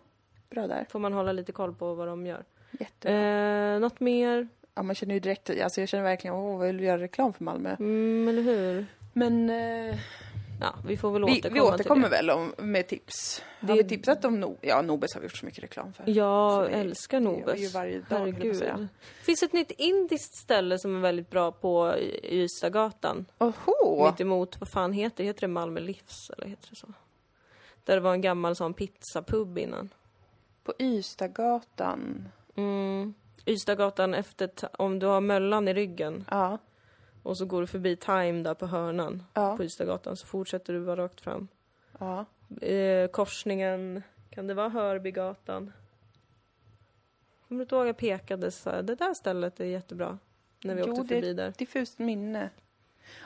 Speaker 1: bra där.
Speaker 2: Får man hålla lite koll på vad de gör.
Speaker 1: Jätte.
Speaker 2: Eh, något mer?
Speaker 1: Ja, man känner ju direkt, alltså jag känner verkligen, åh, vad vill du göra reklam för Malmö?
Speaker 2: Mm, eller hur?
Speaker 1: Men eh,
Speaker 2: Ja, vi får väl
Speaker 1: vi,
Speaker 2: återkomma
Speaker 1: vi återkommer
Speaker 2: till
Speaker 1: väl om, med tips. Har
Speaker 2: Det-
Speaker 1: vi tipsat om no Ja, Nobes har vi gjort så mycket reklam för.
Speaker 2: det. Jag
Speaker 1: Så det-
Speaker 2: älskar
Speaker 1: det gör vi
Speaker 2: Nobes.
Speaker 1: ju varje dag, höll jag på att säga.
Speaker 2: Det finns ett nytt indiskt ställe som är väldigt bra på I- Ystadgatan.
Speaker 1: Oho!
Speaker 2: Mitt emot, vad fan heter det? Heter det Malmö Livs? Eller heter det så? Där det var en gammal sån pizzapub innan.
Speaker 1: På Ystadgatan.
Speaker 2: Mm. Ystadgatan efter, Ta- om du har Möllan i ryggen
Speaker 1: Ja,
Speaker 2: och så går du förbi Time där på hörnan
Speaker 1: ja,
Speaker 2: på Ystadgatan så fortsätter du bara rakt fram.
Speaker 1: ja.
Speaker 2: Eh, korsningen, kan det vara Hörbygatan? Kommer du inte ihåg jag pekade så här, det där stället är jättebra. När vi
Speaker 1: Jo,
Speaker 2: åkte
Speaker 1: det-
Speaker 2: förbi där.
Speaker 1: Diffust minne.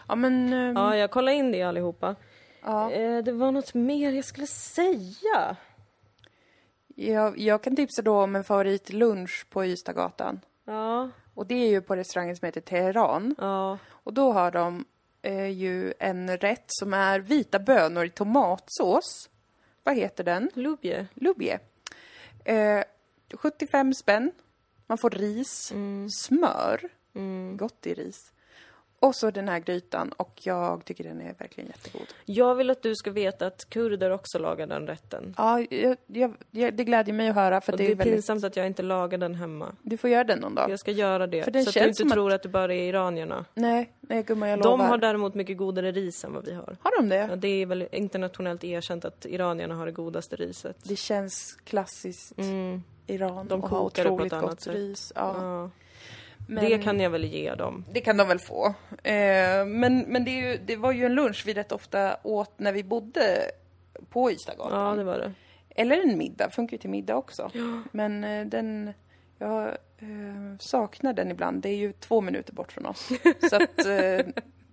Speaker 1: Ja, men... ehm,
Speaker 2: Ja, jag kollade in det allihopa.
Speaker 1: ja.
Speaker 2: Eh, det var något mer jag skulle säga.
Speaker 1: Jag, jag kan tipsa då om en favoritlunch på Ystadgatan.
Speaker 2: Ja,
Speaker 1: Och det är ju på restaurangen som heter Teheran.
Speaker 2: ja.
Speaker 1: Och då har de eh, ju en rätt som är vita bönor i tomatsås. Vad heter den?
Speaker 2: Lubje.
Speaker 1: Lubje. Eh, 75 spänn. Man får ris, smör. Gott i ris. Och så den här grytan och jag tycker den är verkligen jättegod.
Speaker 2: Jag vill att du ska veta att kurder också lagar den rätten.
Speaker 1: Ja, jag, jag, jag, det glädjer mig att höra för
Speaker 2: Och
Speaker 1: det är, väldigt...
Speaker 2: pinsamt att jag inte lagar den hemma.
Speaker 1: Du får göra den någon dag.
Speaker 2: Jag ska göra det.
Speaker 1: För den
Speaker 2: så att du
Speaker 1: känns
Speaker 2: inte
Speaker 1: som att-
Speaker 2: tror att det bara är iranierna.
Speaker 1: Nej, nej gumman jag
Speaker 2: De
Speaker 1: lovar.
Speaker 2: har däremot mycket godare ris än vad vi har.
Speaker 1: Har de
Speaker 2: Ja,
Speaker 1: det?
Speaker 2: det är väl internationellt erkänt att iranierna har det godaste riset.
Speaker 1: Det känns klassiskt Iran
Speaker 2: De
Speaker 1: och har
Speaker 2: kokar det på
Speaker 1: otroligt
Speaker 2: ett annat
Speaker 1: gott
Speaker 2: sätt.
Speaker 1: ris. Ja.
Speaker 2: Ja.
Speaker 1: Men-
Speaker 2: Det kan jag väl ge dem.
Speaker 1: Det kan de väl få. Eh, men men det, är ju, det var ju en lunch vi rätt ofta åt när vi bodde på
Speaker 2: Ja,
Speaker 1: Ystadgatan.
Speaker 2: det var det.
Speaker 1: Eller en middag, funkar ju till middag också. Men eh, den, jag eh, saknar den ibland. Det är ju två minuter bort från oss. Så att eh,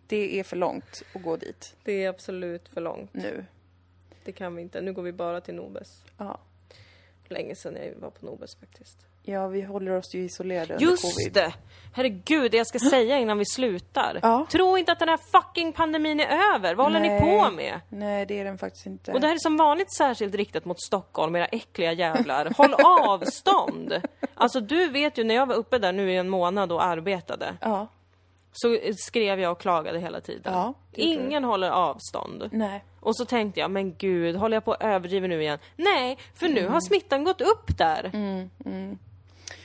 Speaker 1: det är för långt att gå dit
Speaker 2: Det är absolut för långt.
Speaker 1: nu.
Speaker 2: Det kan vi inte. Nu går vi bara till Nobes.
Speaker 1: Ja,
Speaker 2: Länge sedan jag var på Nobes faktiskt.
Speaker 1: ja vi håller oss ju isolerade under
Speaker 2: Just
Speaker 1: covid.
Speaker 2: det! Herregud, det jag ska säga innan vi slutar.
Speaker 1: Ja.
Speaker 2: Tro inte att den här fucking pandemin är över. Vad håller ni
Speaker 1: Nej.
Speaker 2: på med?
Speaker 1: Nej, det är den faktiskt inte.
Speaker 2: Och det här är som vanligt särskilt riktat mot Stockholm, era äckliga jävlar. Håll avstånd! Alltså du vet ju, när jag var uppe där nu i en månad och arbetade,
Speaker 1: Ja,
Speaker 2: så skrev jag och klagade hela tiden.
Speaker 1: Ja, det gjorde
Speaker 2: Ingen håller avstånd.
Speaker 1: nej.
Speaker 2: Och så tänkte jag, men gud, håller jag på att överdriva nu igen? Nej, för nu har smittan gått upp där.
Speaker 1: Mm,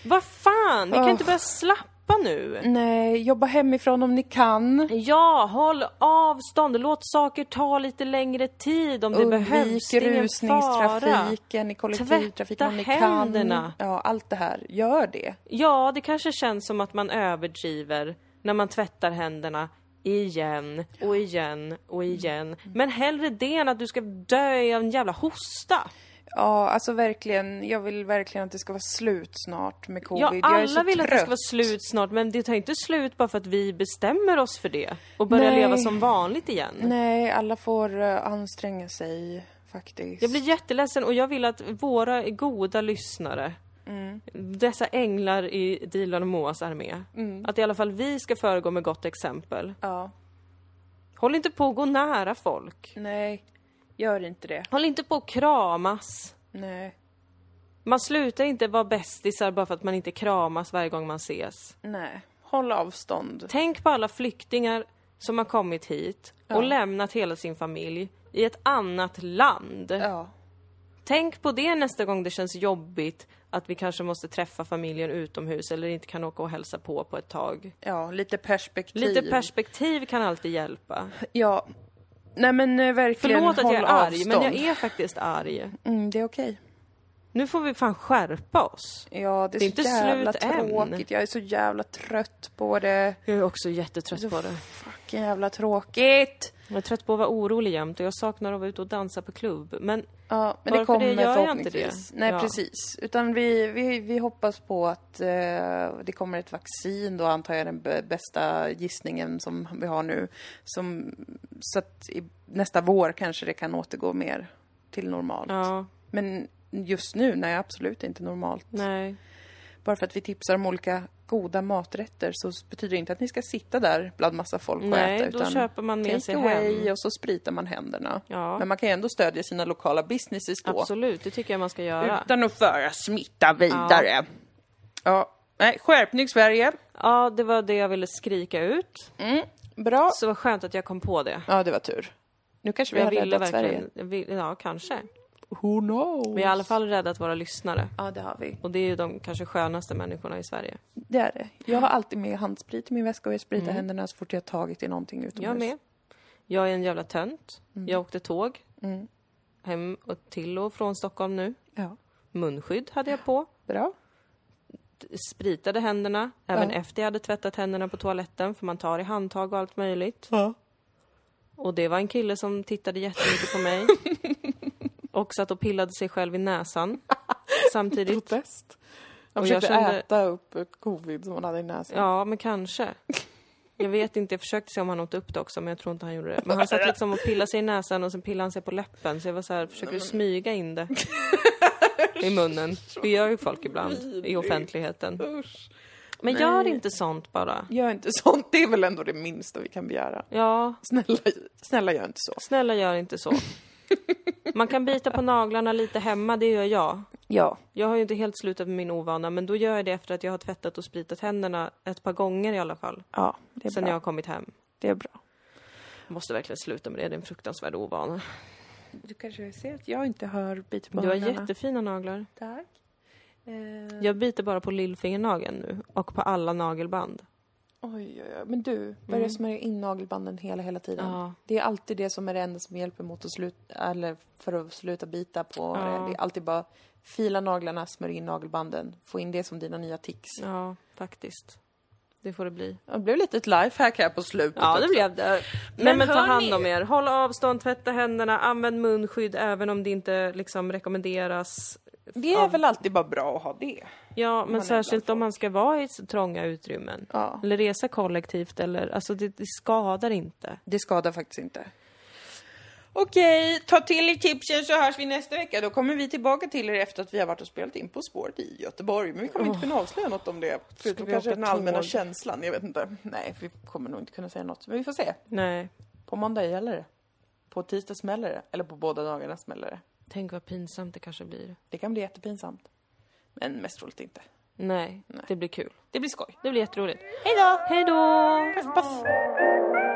Speaker 2: Vad fan, vi kan inte börja slappa nu.
Speaker 1: Nej, jobba hemifrån om ni kan.
Speaker 2: Ja, håll avstånd, låt saker ta lite längre tid om det behövs.
Speaker 1: Undvik
Speaker 2: Det är ingen fara.
Speaker 1: rusningstrafiken i kollektivtrafiken om ni
Speaker 2: Tvätta händerna.
Speaker 1: kan. Ja, allt det här. Gör det.
Speaker 2: Ja, det kanske känns som att man överdriver när man tvättar händerna igen och igen och
Speaker 1: Mm.
Speaker 2: igen. Men hellre det än att du ska dö i en jävla hosta.
Speaker 1: Ja, alltså verkligen. Jag vill verkligen att det ska vara slut snart med covid.
Speaker 2: Ja,
Speaker 1: jag är
Speaker 2: alla
Speaker 1: så
Speaker 2: vill att det ska
Speaker 1: trött.
Speaker 2: vara slut snart men det tar inte slut bara för att vi bestämmer oss för det och börjar
Speaker 1: Nej.
Speaker 2: leva som vanligt igen.
Speaker 1: Nej, alla får eh, anstränga sig faktiskt.
Speaker 2: Jag blir jätteledsen och jag vill att våra goda lyssnare,
Speaker 1: Mm.
Speaker 2: dessa änglar i Dilan och Moas armé,
Speaker 1: Mm.
Speaker 2: att i alla fall vi ska föregå med gott exempel.
Speaker 1: Ja,
Speaker 2: Håll inte på att gå nära folk.
Speaker 1: nej. Gör inte det.
Speaker 2: Håll inte på att kramas.
Speaker 1: Nej,
Speaker 2: Man slutar inte vara bästisar bara för att man inte kramas varje gång man ses.
Speaker 1: nej. Håll avstånd.
Speaker 2: Tänk på alla flyktingar som har kommit hit och lämnat hela sin familj i ett annat land.
Speaker 1: Ja.
Speaker 2: Tänk på det nästa gång det känns jobbigt att vi kanske måste träffa familjen utomhus eller inte kan åka och hälsa på på ett tag.
Speaker 1: Ja, lite perspektiv.
Speaker 2: Lite perspektiv kan alltid hjälpa.
Speaker 1: Ja. Nej men eh, verkligen,
Speaker 2: Förlåt att
Speaker 1: håll
Speaker 2: jag är arg,
Speaker 1: avstånd.
Speaker 2: men jag är faktiskt arg.
Speaker 1: Mm, det är okej.
Speaker 2: Nu får vi fan skärpa oss.
Speaker 1: Ja, det är,
Speaker 2: Det är
Speaker 1: så
Speaker 2: inte
Speaker 1: jävla
Speaker 2: slut än.
Speaker 1: tråkigt. Jag är så jävla trött på det.
Speaker 2: Jag är också jättetrött på det.
Speaker 1: Fucking jävla tråkigt!
Speaker 2: Jag är trött på att vara orolig jämt och jag saknar att vara ute och dansa på klubb. Men
Speaker 1: Ja, men
Speaker 2: Bara
Speaker 1: det
Speaker 2: för det
Speaker 1: kommer
Speaker 2: gör jag inte
Speaker 1: förhoppningsvis.
Speaker 2: det.
Speaker 1: Nej,
Speaker 2: Ja.
Speaker 1: precis. Utan vi, vi, vi hoppas på att eh, det kommer ett vaccin då, antar jag den b- bästa gissningen som vi har nu. Som, så att i, nästa vår kanske det kan återgå mer till normalt.
Speaker 2: ja,
Speaker 1: Men just nu, nej absolut inte normalt.
Speaker 2: nej.
Speaker 1: Bara för att vi tipsar om olika goda maträtter så betyder det inte att ni ska sitta där bland massa folk och
Speaker 2: Nej,
Speaker 1: äta.
Speaker 2: då köper man med
Speaker 1: take
Speaker 2: sig
Speaker 1: away
Speaker 2: hem.
Speaker 1: och så spritar man händerna.
Speaker 2: Ja.
Speaker 1: Men man kan ju ändå stödja sina lokala businesses då.
Speaker 2: Absolut, det tycker jag man ska göra.
Speaker 1: Utan att föra smitta vidare. Ja. Nej, skärpning Sverige.
Speaker 2: Ja, det var det jag ville skrika ut.
Speaker 1: Mm. Bra.
Speaker 2: Så vad skönt att jag kom på det.
Speaker 1: Ja, det var tur. Nu kanske vi
Speaker 2: Jag
Speaker 1: har
Speaker 2: ville
Speaker 1: räddat
Speaker 2: verkligen...
Speaker 1: Sverige.
Speaker 2: Jag vill, ja, kanske.
Speaker 1: Who knows?
Speaker 2: Vi har i alla fall räddat våra lyssnare.
Speaker 1: Ja, det har vi.
Speaker 2: Och det är ju de kanske skönaste människorna i Sverige.
Speaker 1: Det är det. Jag har alltid med handsprit i min väska och jag spritar händerna så fort jag tagit i någonting utomhus.
Speaker 2: Mm. Jag med. Jag är en jävla tönt.
Speaker 1: Mm.
Speaker 2: Jag åkte tåg hem och till och från Stockholm nu.
Speaker 1: Ja.
Speaker 2: Munskydd hade jag på.
Speaker 1: Bra.
Speaker 2: Spritade händerna, även
Speaker 1: Ja.
Speaker 2: efter jag hade tvättat händerna på toaletten, för man tar i handtag och allt möjligt.
Speaker 1: Ja.
Speaker 2: Och det var en kille som tittade jättemycket på mig. och satt och pillade sig själv i näsan. Samtidigt.
Speaker 1: Protest. Han
Speaker 2: Och jag
Speaker 1: försökte
Speaker 2: kände-
Speaker 1: äta upp ett covid som han hade i näsan.
Speaker 2: Ja, men kanske. Jag vet inte, jag försökte se om han åt upp det också, men jag tror inte han gjorde det. Men han satt liksom och pillade sig i näsan och sen pillade han sig på läppen, så jag var så här, försöker du smyga in det? I munnen. Det gör ju folk ibland, i offentligheten.
Speaker 1: Usch.
Speaker 2: Men gör inte sånt bara.
Speaker 1: Gör inte sånt. Det är väl ändå det minsta vi kan begära.
Speaker 2: Ja,
Speaker 1: Snälla, snälla gör inte så.
Speaker 2: snälla gör inte så. Man kan bita på naglarna lite hemma, det gör jag.
Speaker 1: Ja.
Speaker 2: Jag har ju inte helt slutat med min ovana, men då gör jag det efter att jag har tvättat och spritat händerna ett par gånger i alla fall.
Speaker 1: Ja, det är
Speaker 2: Sen
Speaker 1: bra.
Speaker 2: jag har kommit hem.
Speaker 1: Det är bra.
Speaker 2: Jag måste verkligen sluta med det, det är en fruktansvärd ovana.
Speaker 1: Du kanske ser att jag inte hör bit på
Speaker 2: Du har jättefina naglar.
Speaker 1: Tack. Eh,
Speaker 2: Jag biter bara på lillfingernageln nu och på alla nagelband.
Speaker 1: Oj, oj, oj. Men du, börja smörja in nagelbanden hela, hela tiden.
Speaker 2: Mm. Ja.
Speaker 1: Det är alltid det som är det enda som hjälper mot att sluta, eller för att sluta bita på det. Det är alltid bara fila naglarna, smörj in nagelbanden. Få in det som dina nya tics.
Speaker 2: Ja, faktiskt. Det får det bli.
Speaker 1: Det blev lite ett lifehack här på slutet.
Speaker 2: Ja, det
Speaker 1: också.
Speaker 2: blev det. Nej, men ta hand om er. Håll avstånd, tvätta händerna, använd munskydd även om det inte liksom rekommenderas.
Speaker 1: det är väl alltid bara bra att ha det.
Speaker 2: Ja, men
Speaker 1: man är
Speaker 2: särskilt
Speaker 1: bland
Speaker 2: om man ska vara i så trånga utrymmen.
Speaker 1: Ja.
Speaker 2: Eller resa kollektivt eller, alltså det, det skadar inte.
Speaker 1: Det skadar faktiskt inte. Okej, ta till er tipsen så hörs vi nästa vecka. Då kommer vi tillbaka till er efter att vi har varit och spelat in På spåret i Göteborg. Men vi kommer inte kunna avslöja något om det. Förutom
Speaker 2: vi
Speaker 1: kanske
Speaker 2: åka
Speaker 1: den allmänna
Speaker 2: tåg?
Speaker 1: känslan. Jag vet inte. Nej, vi kommer nog inte kunna säga något. Men vi får se.
Speaker 2: Nej,
Speaker 1: På måndag gäller det. På tisdag smäller det. Eller på båda dagarna smäller det.
Speaker 2: tänk vad pinsamt det kanske blir.
Speaker 1: Det kan bli jättepinsamt. Men mest troligt inte.
Speaker 2: Nej, det blir kul.
Speaker 1: Det blir skoj.
Speaker 2: Det blir jätteroligt.
Speaker 1: Hej då!
Speaker 2: Hej då!
Speaker 1: Puff, puff.